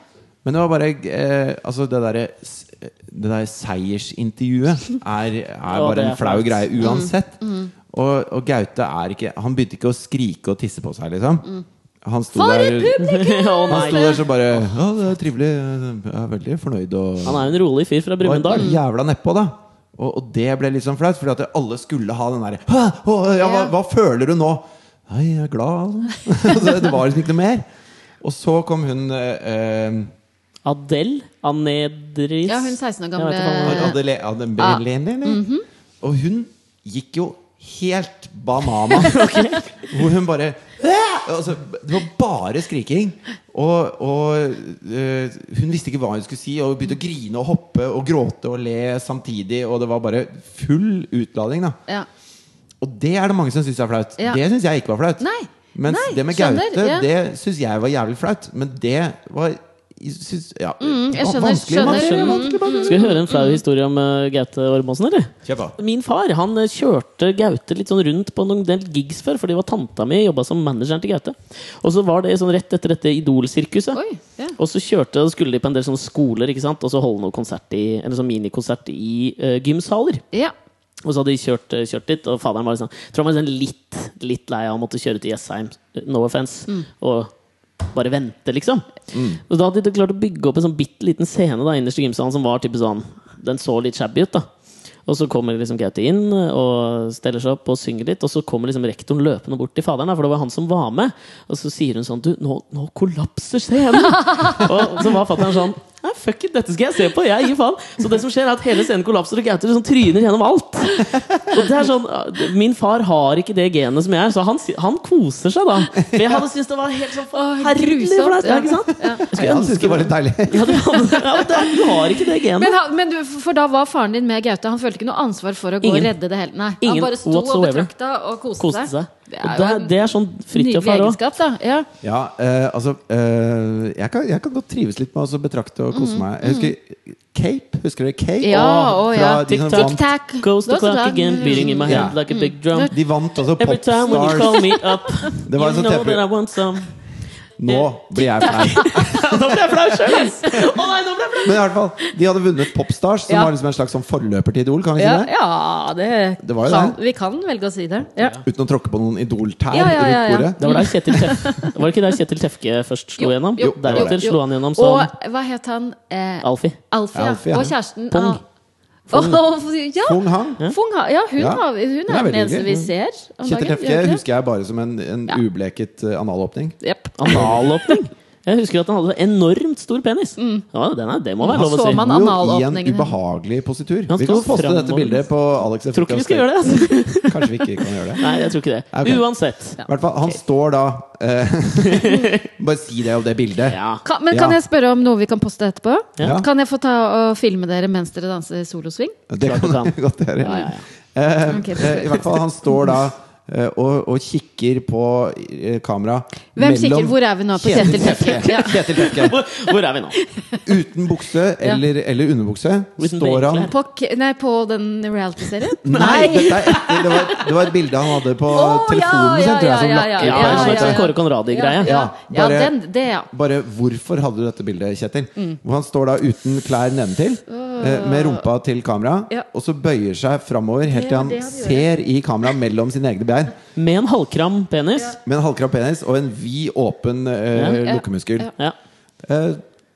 C: Men det var bare eh, Altså, det derre s- Det der seiersintervjuet er, er
A: Å, det
C: bare
A: er Mm.
C: en flau
A: flaut.
C: greie uansett. Og, og Gaute er ikke Han begynte ikke å skrike og tisse på seg, liksom.
A: Mm.
C: Han sto
B: For et
C: der
A: Å,
C: han sto
A: nei.
C: der så bare Ja, det er trivelig. Jeg er veldig fornøyd og
A: Han er jo en rolig fyr fra
C: var
A: Brumunddal.
C: jævla nedpå, da. Og, og det ble litt sånn flaut, fordi at alle skulle ha den derre «Hæ? Å, ja, hva,
B: Ja.
C: hva føler du nå? Nei, jeg er glad. altså. det var liksom ikke noe mer. Og så kom hun eh, eh,
A: Adele Anedris
B: Ja, hun 16 år gamle-
A: Jeg vet ikke hva hun
B: Eh,
A: heter.
C: Adele,
B: ah,
C: Adele,
B: mhm.
C: Og hun gikk jo helt banana. Hvor hun bare «Æ!» altså, Det var bare skriking. Og, og eh, hun visste ikke hva hun skulle si, og begynte å grine og hoppe og gråte og le samtidig. Og det var bare full utlading. da
B: Ja.
C: og det er det mange som syns er flaut.
B: Ja.
C: Det syns jeg ikke var flaut.
B: Nei,
C: Mens
B: nei,
C: det med Gaute,
B: skjønner, ja.
C: det syns jeg var jævlig flaut. Men det var jeg synes, ja,
B: Mm, jeg
C: va-
B: skjønner,
C: vanskelig,
B: skjønner.
C: vanskelig,
A: Skjønner.
C: vanskelig, vanskelig.
A: Skal vi høre en flau historie om eh, Gaute Ormåsen, eller?
C: Kjør på.
A: Min far han eh, kjørte Gaute litt sånn rundt på noen del gigs før, fordi det var tanta mi jobba som manageren til Gaute. Og så var det sånn rett etter dette Idol-sirkuset.
B: Oi, ja.
A: Og så kjørte og skulle de på en del sånne skoler ikke sant? og så holde noe konsert i, eller sånn minikonsert i eh, gymsaler.
B: ja.
A: Og så hadde de kjørt, eh, kjørt dit, og faderen var liksom, tror han var liksom litt, litt lei av å måtte kjøre til Jessheim, no offense, og bare vente, liksom. Og da hadde de klart å bygge opp en sånn bitte liten scene da, innerst i gymsalen som var typisk sånn Den så litt shabby ut, da. Og så kommer liksom Gaute inn og steller seg opp og synger litt. Og så kommer liksom rektoren løpende bort til faderen, da, for det var han som var med. Og så sier hun sånn Du, nå, nå kollapser scenen! og så var fatter'n sånn Nei, fuck it, dette skal jeg se på! Jeg gir faen! Så det som skjer, er at hele scenen kollapser, og Gaute liksom tryner gjennom alt. Og det er sånn, Min far har ikke det genet som jeg er, så han, si- han koser seg da. For jeg hadde syntes det var helt sånn
B: Åh,
A: herlig
B: grusomt,
A: for deg.
B: ja.
A: Ja, ikke sant? Jeg
C: Ja,
A: skulle
C: han syntes det
A: ønske
C: var litt deilig.
A: ja, du, ja, men det, du har ikke det genet.
B: Men, han, men du, for da var faren din med Gaute. Han følte ikke noe ansvar for å gå
A: Ingen.
B: og redde det hele. Nei,
A: Ingen
B: han bare sto og
A: whatsoever.
B: betrakta og koste,
A: Koste seg.
B: Det
A: Og
B: er
A: det,
B: jo en
A: det er sånn
B: nydelig
A: Fridtjof har òg.
B: egenskap, da. Ja.
C: Ja, eh, altså eh, jeg, kan, jeg kan godt trives litt med å så betrakte og kose meg. Jeg husker Cape. Husker dere Cape?
B: Mm, Ja,
C: Åh,
B: å,
C: fra
B: ja.
C: de som
A: Tic Tac.
C: vant,
B: Tac.
A: Goes the
B: Det var så
A: clock
B: bra.
A: again, beating in my
C: Ja.
A: head like a
B: Mm.
A: big drum.
C: de vant altså
A: Every time when you call
C: Popstars.
A: me up,
C: Det var en
A: you
C: sånn
A: know that I
C: teppe.
A: want some.
C: Nå blir jeg flau.
A: Nå ble jeg flau sjøl, ass! Å nei, nå ble jeg flau!
C: Men i hvert fall, de hadde vunnet Popstars, som
B: Ja.
C: var liksom en slags sånn forløper til Idol. Kan vi si
B: Ja,
C: det?
B: ja det,
C: Det var jo
B: kan,
C: det.
B: Vi kan velge å si det. Ja.
C: Uten å tråkke på noen idoltær
B: Ja, ja, ja, ja.
C: rundt bordet.
A: Det var, der Kjetil Tef var det ikke der Kjetil Tefke først slo
B: Jo,
A: gjennom?
B: jo,
A: Deretter
B: jo, jo.
A: slo han gjennom som
B: Og hva het han? Eh,
A: Alfie.
B: Alfie, ja.
C: Alfie, ja.
B: Og kjæresten.
A: Pung.
B: ah.
A: Pung.
B: Åh, ja.
C: Fung Hang.
B: Fung ha- ja, hun,
C: Ja.
B: har vi- hun
C: Hun er
B: er den eneste
C: veldig hyggelig. Mm.
B: vi ser om
C: Kjetil
B: dagen.
C: Tefke husker jeg bare som en, en
B: Ja.
C: ubleket eh, analåpning.
B: Yep.
A: Analåpning. Jeg husker at han hadde enormt stor penis. Ja, den er, det må være
B: Han
A: lov å
B: Mm. så
A: si.
B: man-
A: Jeg
C: Jo, I en
B: analåpningen.
C: ubehagelig positur.
A: Han
C: Vi kan
A: sto
C: poste
A: framover.
C: dette bildet på Alex
A: tror ikke vi skal gjøre det. Altså.
C: Kanskje vi ikke kan gjøre det.
A: Nei, jeg tror ikke det.
C: Ok.
A: Uansett.
C: I hvert fall, han står da eh, Bare si det om det bildet.
A: Ja.
B: Kan, men kan
C: Ja.
B: jeg spørre om noe vi kan poste etterpå?
C: Ja.
B: Kan jeg få ta og filme dere mens dere danser solosving?
C: Det
A: Klart du
C: kan
A: kan.
C: vi godt gjøre.
A: Ja, ja, ja.
C: Eh,
B: Ok,
C: eh, I hvert fall, han står da eh, og, og kikker på eh, kamera
B: Hvem kikker? Hvor er vi nå? På Kjetil Tefke. Ja.
C: Kjetil Tefke.
A: Hvor, hvor er vi nå?
C: Uten bukse eller, eller underbukse
A: Uten
C: står han
A: benkle.
B: På, k- nei, på den reality-serien?
C: eh. Nei! Dette er etter, det, var, det var et bilde han hadde på
B: Å, ja,
C: telefonen sin,
B: ja,
C: tror jeg. Som
B: ja,
C: lakk
B: ja,
C: ut
A: Ja,
C: der.
A: en slags
B: ja,
A: sånn
B: ja.
A: Kåre Conradi-greie.
B: Ja, ja,
C: bare-
B: den, det, ja.
C: Bare hvorfor hadde du dette bildet, Kjetil? Hvor han står da uten klær nedentil, eh, med rumpa til kamera,
B: Ja.
C: og så bøyer seg framover helt til
B: Ja,
C: han
B: det hadde
C: ser i kamera mellom sine egne bein,
A: Med en halvkram penis.
C: med en halvkram penis og en vid åpen eh,
B: Ja.
C: lukkemuskel.
A: Ja.
C: Eh,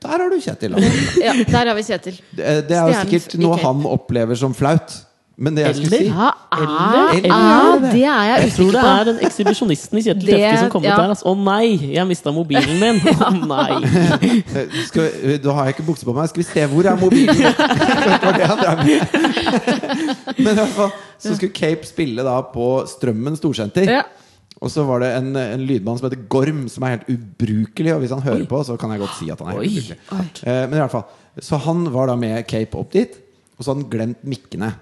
C: der har du Kjetil. Altså.
B: ja. Der har vi Kjetil.
C: Det, det er jo
B: Stjernen
C: sikkert
B: i
C: noe
B: Cape.
C: han opplever som flaut. Men det jeg skulle
A: Eller-
C: si
B: Ja, ah,
A: Eller-
B: ah, det er jeg
A: Jeg tror
B: usikker
A: det
B: på.
A: er den ekshibisjonisten i Kjetil
B: Det-
A: Tefke som kom ut
B: ja.
A: der. altså. Å nei, jeg mista mobilen min! Å nei.
C: Eh, skal, vi- Da har jeg ikke bukse på meg. Skal vi se hvor er mobilen? det var det han drev med. Men i hvert fall så skulle Cape spille da på Strømmen storsenter.
B: Ja.
C: Og så var det en, en lydmann som heter Gorm, som er helt ubrukelig. Og hvis han hører på, så kan jeg godt si at han er
A: Oi.
C: helt ubrukelig. Eh, Men i hvert fall Så han var da med Cape opp dit, og så hadde han glemt mikkene.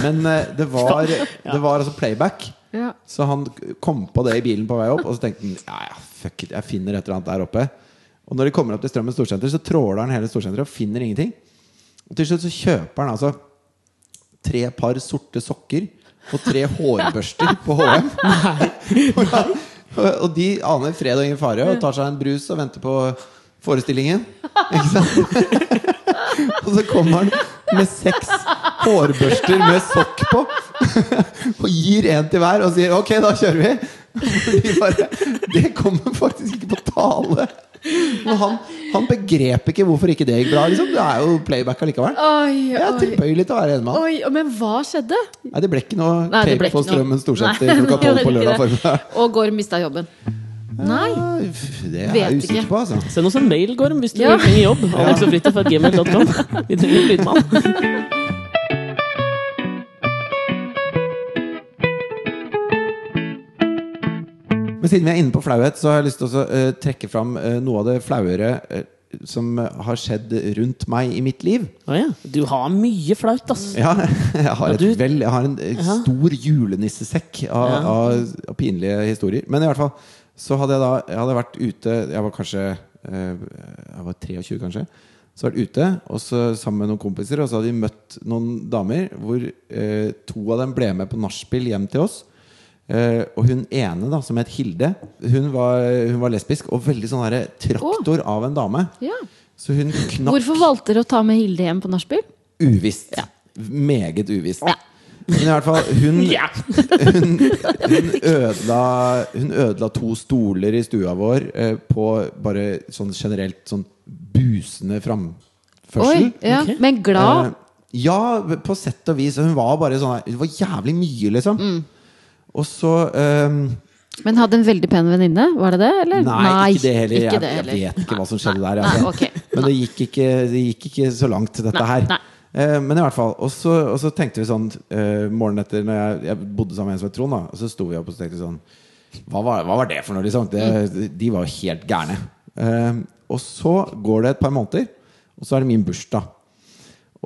C: Men eh, det var, det var altså playback.
B: Ja.
C: Så han kom på det i bilen på vei opp, og så tenkte han ja, ja, fuck it, jeg finner et eller annet der oppe. Og når de kommer opp til Strømmen storsenter, så tråler han hele storsenteret og finner ingenting. Og til slutt så kjøper han altså tre par sorte sokker på tre hårbørster på HM. og de aner fred og ingen fare og tar seg en brus og venter på forestillingen. Ikke sant? og så kommer han med seks hårbørster med sokk på og gir en til hver og sier 'ok, da kjører vi'. Fordi bare, det kommer faktisk ikke på tale. Men han, han begrep ikke hvorfor ikke det gikk bra. Liksom. Det er jo playback allikevel.
B: Oi,
C: Jeg er
B: oi.
C: tilbøyelig til å være enig med han.
B: Oi, men hva skjedde?
C: Nei, det ble ikke noe
B: Nei, det ble
C: cake på
B: ikke noe.
C: Strømmen storsenter
B: Nei,
C: klokka
B: det ble
C: tolv på
B: ikke
C: lørdag
B: det.
C: formiddag.
B: Og Gorm mista jobben. Nei.
C: Ja, f- Det er
B: Vet
C: jeg usikker
B: ikke.
C: på, altså.
A: Send oss en mail, Gorm, hvis du
B: Ja.
A: trenger jobb. Alexogfritid.gmail.com. Vi trenger en lydmann.
C: Men siden vi er inne på flauhet, så har jeg lyst til å eh, trekke fram eh, noe av det flauere eh, som har skjedd rundt meg i mitt liv.
A: Å ja. Du har mye flaut, ass.
C: Ja, jeg har, et
A: du-
C: vel, jeg har en eh,
A: Ja.
C: stor julenissesekk av,
A: Ja.
C: av, av pinlige historier. Men i hvert fall så hadde jeg da Jeg hadde vært ute Jeg var kanskje eh, Jeg var 23, kanskje. Så vært ute og så, sammen med noen kompiser, og så hadde vi møtt noen damer hvor eh, to av dem ble med på nachspiel hjem til oss. Eh, og hun ene, da som het Hilde, hun var, hun var lesbisk og veldig sånn derre traktor av en dame.
B: Ja.
C: Så hun knakk
B: Hvorfor valgte dere å ta med Hilde hjem på nachspiel?
C: Uvisst. Meget uvisst.
B: Ja.
C: Men i hvert fall, hun,
A: Ja.
C: hun, ødela, hun ødela to stoler i stua vår eh, på bare sånn generelt sånn busende framførsel.
B: Oi, ja.
A: Ok.
B: Men glad.
C: Eh, ja, på sett og vis. Hun var bare sånn her- Hun var jævlig mye, liksom.
B: Mm.
C: Og så eh,
B: Men hadde en veldig pen venninne, var det det? Eller?
C: Nei, ikke det heller.
B: ikke
C: Jeg,
B: det
C: jeg
B: heller.
C: vet ikke hva som skjedde der.
B: nei,
C: altså.
B: ok.
C: Men det gikk, ikke, det gikk ikke så langt, dette
B: Nei,
C: her.
B: nei.
C: Eh, men i hvert fall. Og så, og så tenkte vi sånn eh, morgenen etter Når jeg, jeg bodde sammen med en som het Trond, da, og så sto vi opp og så tenkte vi sånn Hva var, hva var det for noe, liksom? Det, de var jo helt gærne. Eh, og så går det et par måneder, og så er det min bursdag.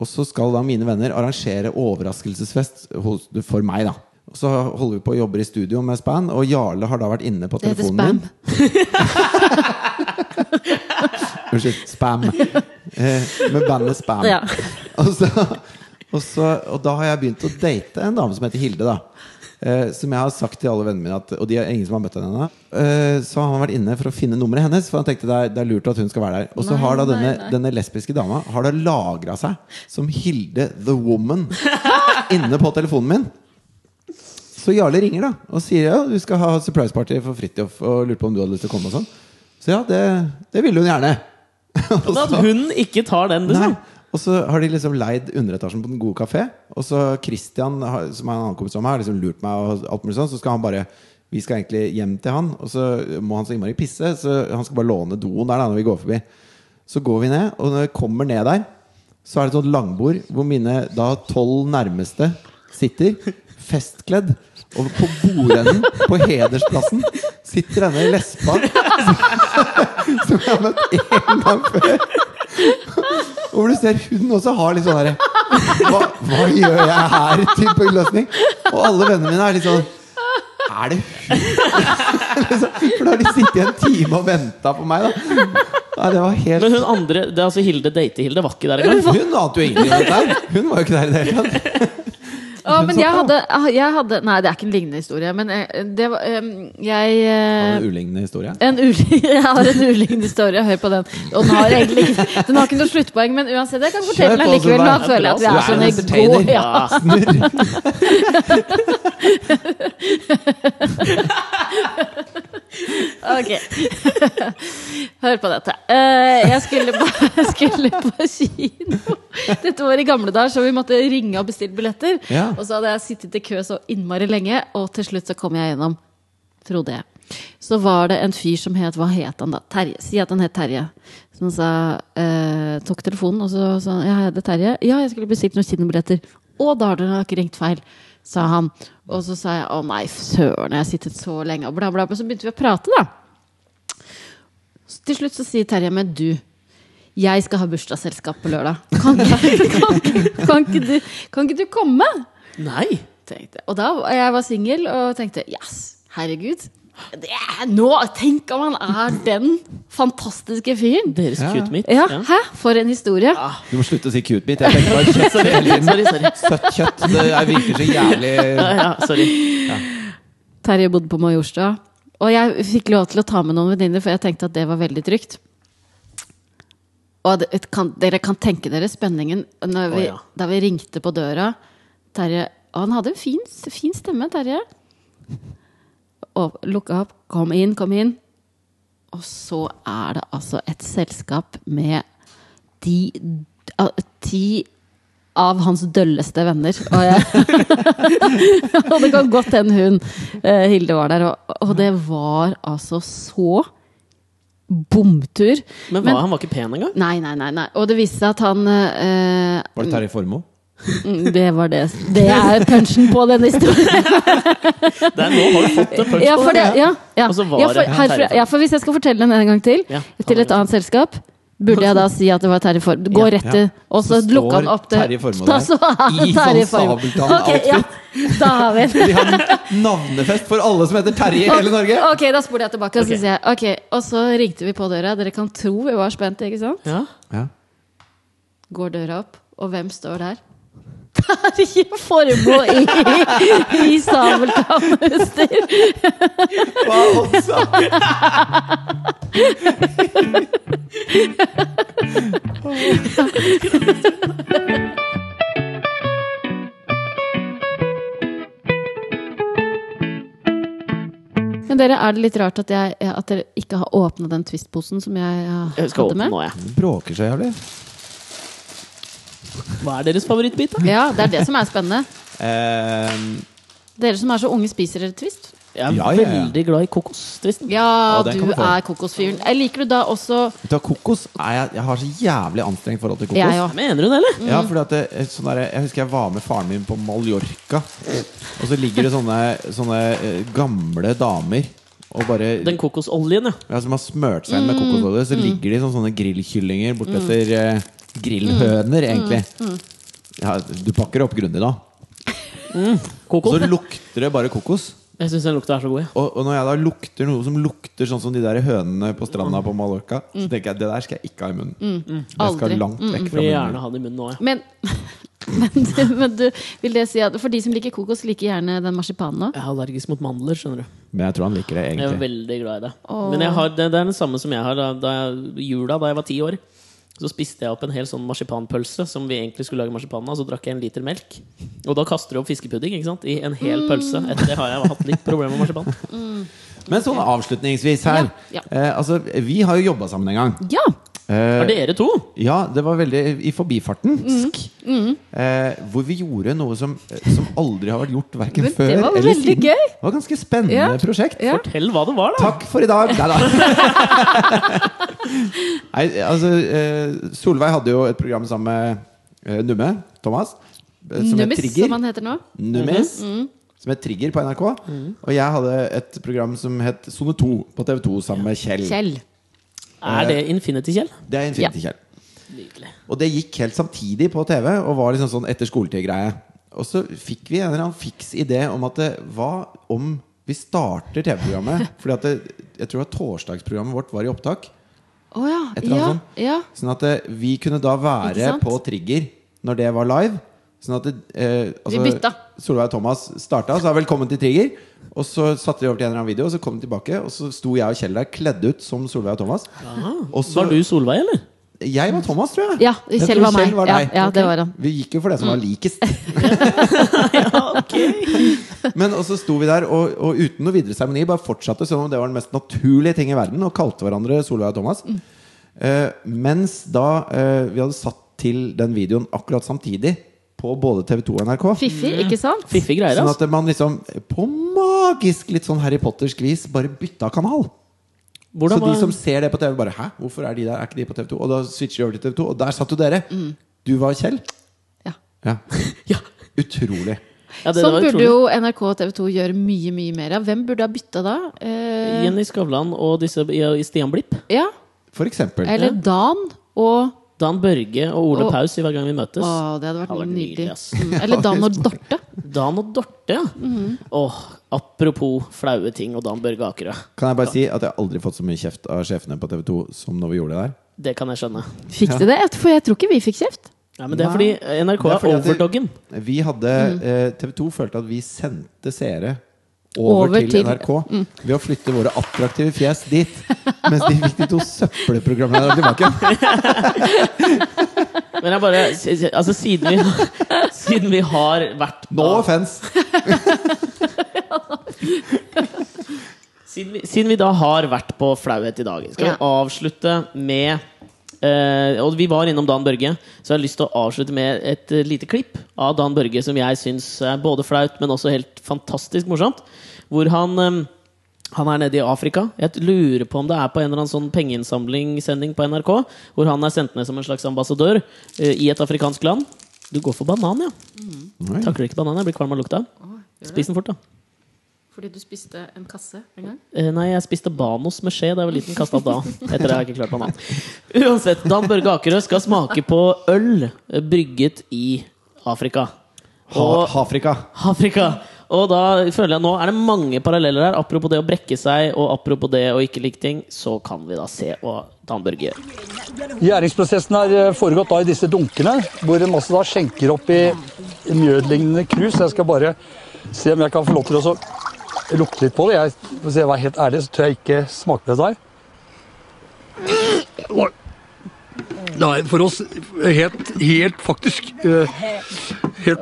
C: Og så skal da mine venner arrangere overraskelsesfest hos, for meg, da. Og så holder vi på å jobbe i studio med Span, og Jarle har da vært inne på
B: Det heter
C: telefonen min. Unnskyld, Spam. Eh, med bandet Spam.
B: Ja.
C: Og, så, og, så, og da har jeg begynt å date en dame som heter Hilde, da. Eh, som jeg har sagt til alle vennene mine, at, og de er ingen som har møtt henne ennå. Eh, så har han vært inne for å finne nummeret hennes, for han tenkte det er, det er lurt at hun skal være der. Og så har da denne, denne lesbiske dama Har da lagra seg som Hilde the Woman inne på telefonen min. Så Jarle ringer da og sier ja, du skal ha surprise party for Fridtjof. Og lurte på om du hadde lyst til å komme og sånn. Så ja, det, det ville hun gjerne.
A: Og da at hun ikke tar den,
C: Nei.
A: liksom.
C: Og så har de liksom leid underetasjen på Den gode kafé. Og så Christian, har- som er en annen kompis av meg, har liksom lurt meg. Og alt mulig sånn Så skal han bare Vi skal egentlig hjem til han, og så må han så innmari pisse. Så han skal bare låne doen der da når vi går forbi. Så går vi ned, og når vi kommer ned der, så er det et sånt langbord hvor mine da tolv nærmeste sitter, festkledd. Og på bordenden på Hedersplassen sitter denne lesba som- som jeg har møtt én gang før. Og hvor du ser hun også har litt sånn herre hva, hva gjør jeg her? Type løsning. Og alle vennene mine er litt sånn Er det hun? Liksom, For da har de sittet i en time og venta på meg, da. Nei, det var helt
A: Men hun andre, det er altså Hilde date-Hilde, var ikke der engang.
C: Hun ante jo ingenting om dette her. Hun var jo ikke der i det hele tatt.
B: Å, men jeg hadde, ah, jeg hadde Nei, det er ikke en lignende historie, men eh, det var eh, Jeg eh,
C: En ulignende historie.
B: en uli, jeg har en ulignende historie. Hør på den. Og den har egentlig ikke, den har ikke noe sluttpoeng, men uansett, jeg kan fortelle
C: Kjør
B: den
C: på,
B: likevel.
C: Solveig.
B: Nå føler jeg at vi
C: Du
B: er
C: er en
B: sånn i
C: entertainer.
B: går. Ja.
C: Snurr.
B: Ok. Hør på dette. Eh, jeg, skulle på, jeg skulle på kino. Dette var i gamle dager, så vi måtte ringe og bestille billetter.
C: Ja.
B: Og så hadde jeg sittet i kø så innmari lenge, og til slutt så kom jeg gjennom. Trodde jeg. Så var det en fyr som het Hva het han da? Terje. Si at han het Terje. Som sa eh, Tok telefonen, og så sa han Ja, jeg heter Terje. Ja, jeg skulle bestilt noen kinobilletter. Å, da har dere nok ringt feil, sa han. Og så sa jeg å nei, søren, jeg har sittet så lenge, og bla, bla, bla. Så begynte vi å prate, da. Så til slutt så sier Terje, men du, jeg skal ha bursdagsselskap på lørdag. Kan ikke, kan ikke, kan ikke, du, kan ikke du komme?
A: Nei!
B: Tenkte. jeg. Og da, og jeg var singel og tenkte, yes, herregud, Det er nå! Tenk om han er den fantastiske fyren!
A: Deres
C: Ja.
A: cute meat.
B: Ja,
A: Ja.
B: hæ? For en historie.
C: Du må slutte å si cute meat. Jeg tenker bare kjøtt hele tiden.
A: Sorry, sorry.
C: Søtt kjøtt. Det er- virker så jævlig
A: Ja, sorry.
B: Terje bodde på Majorstua. Og jeg fikk lov til å ta med noen venninner, for jeg tenkte at det var veldig trygt. Og det, kan, dere kan tenke dere spenningen når vi,
A: Å, ja.
B: da vi ringte på døra. Terje, og han hadde en fin, fin stemme, Terje. Og lukka opp. Kom inn, kom inn. Og så er det altså et selskap med de, ah, ti av hans dølleste venner. Og jeg og det kan godt hende hun eh, Hilde var der. Og, og det var altså så bomtur.
A: Men hva, han var ikke pen engang?
B: Nei, nei, nei. nei. Og det viste seg at han eh,
C: Var det Terje Formoe?
B: mm, Det var det. Det er punchen på den historien.
A: Det er nå har du fått det punch
B: Ja, for,
A: på det.
B: det, ja, ja.
A: Og så var
B: Ja,
A: det
B: for, her,
A: Terje.
B: ja, for hvis jeg skal fortelle den en gang til,
A: Ja.
B: til et annet selskap Burde jeg da si at det var Terje Form? Gå
A: Ja.
B: rett til Og så
C: Så står
B: lukker han opp det
C: Terje Formoe der.
B: Så er det
C: I sånn
B: Terje Formoe.
C: Sabeltann-outfit.
B: Ok, ja. Da har vi det.
C: De har navnefest for alle som heter Terje i hele Norge!
B: Ok, da spoler jeg tilbake. Og så
A: Ok.
B: sier jeg, ok, og så ringte vi på døra. Dere kan tro vi var spente, ikke sant?
A: Ja.
C: Ja.
B: Går døra opp, og hvem står der? Terje Formoe i, i sabeltannutstyr!
C: Hva også?
B: Men dere, er det litt rart at, jeg, at dere ikke har åpna den Twist-posen som jeg eh,
A: Jeg skal
B: hadde
A: åpne
B: med?
A: nå, jeg.
C: Bråker så jævlig.
A: Hva er deres favorittbit, da?
B: Ja, det er det som er spennende.
C: Eh,
B: Dere som er så unge, spiser dere Twist?
A: Jeg er
C: Ja, ja, ja.
A: veldig glad i kokostvisten.
B: Ja,
C: Ja,
B: du
C: den kan du få.
B: er kokosfyren. Jeg liker du da også
C: vet du hva, kokos er jeg, jeg har så jævlig anstrengt forhold til kokos.
B: Jeg òg.
A: Mener du det, eller?
C: Ja, fordi at det, er sånn der, Jeg husker jeg var med faren min på Mallorca. Og så ligger det sånne, sånne eh, gamle damer og bare
A: Den kokosoljen, ja.
C: ja, Som har smørt seg inn med kokosolje. Så ligger de som sånne grillkyllinger bortetter eh, grillhøner, egentlig. Ja, du pakker opp grundig da. Og
A: Kokos.
C: så lukter det bare kokos.
A: Jeg syns den lukta er så god, jeg.
C: Og, og når jeg da lukter noe som lukter sånn som de der hønene på stranda på Mallorca, så tenker jeg det der skal jeg ikke ha i munnen. Jeg skal
B: Aldri.
C: langt vekk fra
A: Vil
C: munnen.
A: gjerne ha den i munnen nå, jeg.
B: Men, men, du, men du, vil det si at for de som liker kokos, liker gjerne den marsipanen òg?
A: Jeg er allergisk mot mandler, skjønner du.
C: Men jeg tror han liker det,
A: Jeg er
C: egentlig.
A: veldig glad i det. Men jeg har, det, det er den samme som jeg har da, da jeg, jula da jeg var ti år. Så spiste jeg opp en hel sånn marsipanpølse som vi egentlig skulle lage marsipan av. Så drakk jeg en liter melk. Og da kaster du opp fiskepudding ikke sant? i en
B: Mm.
A: hel pølse. Etter det har jeg hatt litt problemer med marsipan.
C: Men sånn avslutningsvis her
B: Ja, ja.
C: Eh, Altså, vi har jo jobba sammen en gang.
B: Ja!
C: Eh,
A: Har dere to?
C: Ja, det var veldig i forbifarten.
B: Mm.
C: Eh, hvor vi gjorde noe som, eh, som aldri har vært gjort verken
B: Men det
C: før
B: var
C: eller
B: veldig
C: siden.
B: gøy.
C: Det var et ganske spennende
B: Ja,
C: prosjekt.
B: ja.
A: Fortell hva det var, da!
C: Takk for i dag! Nei da. Nei, altså, eh, Solveig hadde jo et program sammen med eh, Numme, Thomas, eh, som het
B: Nummis, som
C: Trigger.
B: han heter nå.
C: Nummis. Som het Trigger på NRK. Og jeg hadde et program som het Sone 2 på TV2 sammen med Kjell.
B: Kjell.
A: Er det Infinity Kjell?
C: Det er Infinity Kjell.
A: Nydelig.
C: Og det gikk helt samtidig på TV, og var liksom sånn etter skoletid-greie. Og så fikk vi en eller annen fiks idé om at det, hva om vi starter TV-programmet? Fordi at det, jeg tror at torsdagsprogrammet vårt var i opptak.
B: Å ja.
C: Et eller
B: Ja,
C: annet
B: ja.
C: Sånn at det, vi kunne da
B: Ikke
C: være
B: sant?
C: på trigger når det var live. Sånn at det, eh,
B: bytta.
C: Solveig og Thomas starta, så 'velkommen til trigger'. Og så satte de over til en eller annen video, og så kom de tilbake. Og så sto jeg og Kjell der kledd ut som Solveig og Thomas. Og så,
A: Var du Solveig, eller?
C: Jeg var Thomas, tror jeg.
B: ja
C: Jeg
B: Kjell
C: tror
B: var meg.
C: Kjell var
B: ja,
C: deg.
B: ja, det var han. Mm.
C: Vi gikk jo for det som var likest.
A: Ja, ok
C: Men og så sto vi der, og, og uten noe videre seremoni, bare fortsatte som om det var den mest naturlige ting i verden, og kalte hverandre Solveig og Thomas.
A: Mm.
C: Eh, mens da eh, vi hadde satt til den videoen akkurat samtidig, på både TV2 og NRK.
B: Fiffig, ikke sant?
A: Fiffig greier,
C: Sånn
A: altså.
C: at man liksom på magisk litt sånn Harry Pottersk vis bare bytta kanal.
A: Hvordan
C: så de
A: var
C: som ser det på TV, bare 'hæ, hvorfor er de der? Er ikke de på TV2?' Og da switcher de over til TV2, og der satt jo dere.
A: Mm.
C: Du var Kjell.
B: Ja.
C: Ja.
A: Ja,
C: Utrolig.
A: ja det, det
B: Sånn
A: var
B: burde
A: utrolig.
B: jo NRK og TV 2 gjøre mye, mye mer av. Hvem burde ha bytta da? Eh,
A: Jenny Skavlan og disse i i Stian Blipp.
B: ja.
C: For eksempel.
B: Eller Dan og
A: Dan Børge og Ole
B: Å.
A: Paus i Hver gang vi møtes.
B: Å, det hadde vært
A: Hadde vært
B: nydelig.
A: nydelig, ass.
B: Mm. Eller Dan og Dorte.
A: Dan og Dorte, ja.
C: Mhm.
A: Åh, apropos flaue ting og Dan Børge Akerø.
C: Kan jeg bare si at jeg har aldri fått så mye kjeft av sjefene på TV 2 som når vi gjorde det der.
A: Det kan jeg skjønne.
B: Fikk de det? Jeg- For jeg tror ikke vi fikk kjeft.
A: Ja, men det er
C: Nei.
A: fordi NRK
C: Det er
A: er,
C: fordi at det-
A: overdoggen.
C: Vi hadde
A: Mm.
C: eh, TV 2 følte at vi sendte seere over,
B: Over
C: til,
B: til-
C: NRK
A: Mm.
C: ved å flytte våre attraktive fjes dit. Mens de fikk de to søppelprogrammene der tilbake.
A: Men jeg bare Altså, siden vi, siden vi har vært på-
C: No offence!
A: Siden vi, siden vi da har vært på flauhet i dag, skal
B: Ja.
A: vi avslutte med eh, Og vi var innom Dan Børge, så jeg har lyst til å avslutte med et eh, lite klipp av Dan Børge som jeg syns er både flaut, men også helt fantastisk morsomt. Hvor han eh, han er nede i Afrika. Jeg lurer på om det er på en eller annen sånn pengeinnsamlingssending på NRK, hvor han er sendt ned som en slags ambassadør eh, i et afrikansk land. Du går for banan, ja. Takler ikke banan, jeg blir kvalm av lukta. Spis den fort, da.
B: Fordi du spiste en kasse en gang?
A: Eh, Nei, jeg spiste Banos med skje da jeg var liten. Kasta opp da. Etter det har jeg ikke klart banan. Uansett, Dan Børge Akerø skal smake på øl eh, brygget i Afrika.
C: Ha,
A: Og,
C: Afrika.
A: Afrika. og da føler jeg nå er det mange paralleller her. Apropos det å brekke seg, og apropos det å ikke like ting, så kan vi da se hva Dan Børge gjør.
E: Gjæringsprosessen har eh, foregått da i disse dunkene, hvor en masse da skjenker opp i mjødlignende krus. Jeg skal bare se om jeg kan få lov til å så lukte litt på det. Jeg, for å se, jeg er helt ærlig, så tør jeg ikke smake på dette her. Oi. Nei, for oss helt, helt faktisk eh, Helt,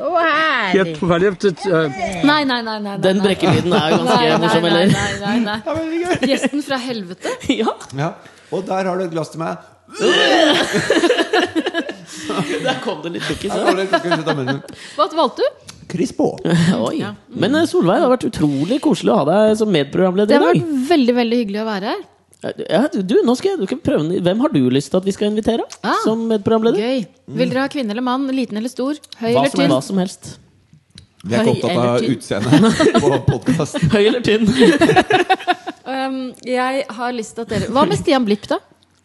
E: helt forferdelig. Det- eh,
B: Nei, nei, nei. nei, nei
A: Den brekkelyden er jo
B: Nei,
A: ganske
B: nei,
A: morsom,
B: nei,
A: eller?
B: nei, nei, nei. Gjesten fra helvete.
A: Ja,
C: Ja. Og der har du et glass til meg.
A: der kom det litt lukkis.
C: Der har du et glass ut av munnen.
B: Hva valgte du?
C: Crispo.
A: Oi. Men eh, Solveig, det har vært utrolig koselig å ha deg som medprogramleder
B: Det
A: i
B: har
A: dag.
B: vært veldig veldig hyggelig å være her.
A: Ja, du, du, nå skal jeg, du skal prøve den. Hvem har du lyst til at vi skal invitere
B: Ah,
A: som medprogramleder?
B: Gøy. Vil dere ha kvinne eller mann? Liten eller stor? Høy
A: Hva
B: eller
A: som,
B: tynn?
A: hva som helst.
C: Vi er ikke
B: Høy
C: opptatt
B: eller
C: av
B: tynn?
C: utseendet på podkast.
A: Høy eller tynn?
B: Um, jeg har lyst til at dere Hva med Stian Blipp, da?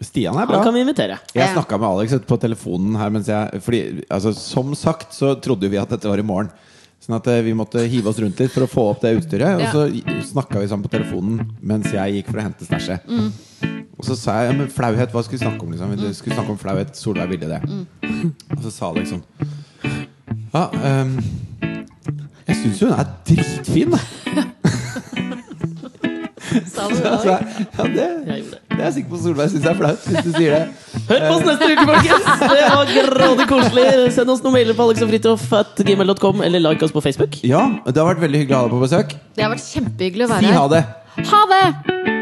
C: Stian er
A: Han
C: bra.
A: kan vi invitere.
C: Jeg snakka med Alex på telefonen her mens jeg Fordi, altså, som sagt så trodde vi at dette var i morgen. Sånn at eh, vi måtte hive oss rundt litt for å få opp det utstyret.
B: Ja.
C: Og så snakka vi sammen på telefonen mens jeg gikk for å hente stæsjet.
B: Mm.
C: Og så sa jeg ja, men flauhet, hva skulle vi snakke om? liksom? Vi skulle snakke om flauhet, Solveig ville det.
B: Mm.
C: Og så sa Alex sånn Ja, ehm, jeg syns jo hun er dritfin, da.
B: Sa du
C: Så
B: det?
C: jeg, ja, det, det
A: Jeg gjorde det.
C: er jeg sikker på Solveig syns er flaut, hvis du sier det.
A: Hør på oss neste uke, folkens! Det var grådig koselig. Send oss noen mailer på alexogfridtjof.gmail.com, eller like oss på Facebook.
C: Ja, det har vært veldig hyggelig å ha deg på besøk.
B: Det har vært kjempehyggelig å
C: Si
B: være
C: ha
B: her.
C: det.
B: Ha det!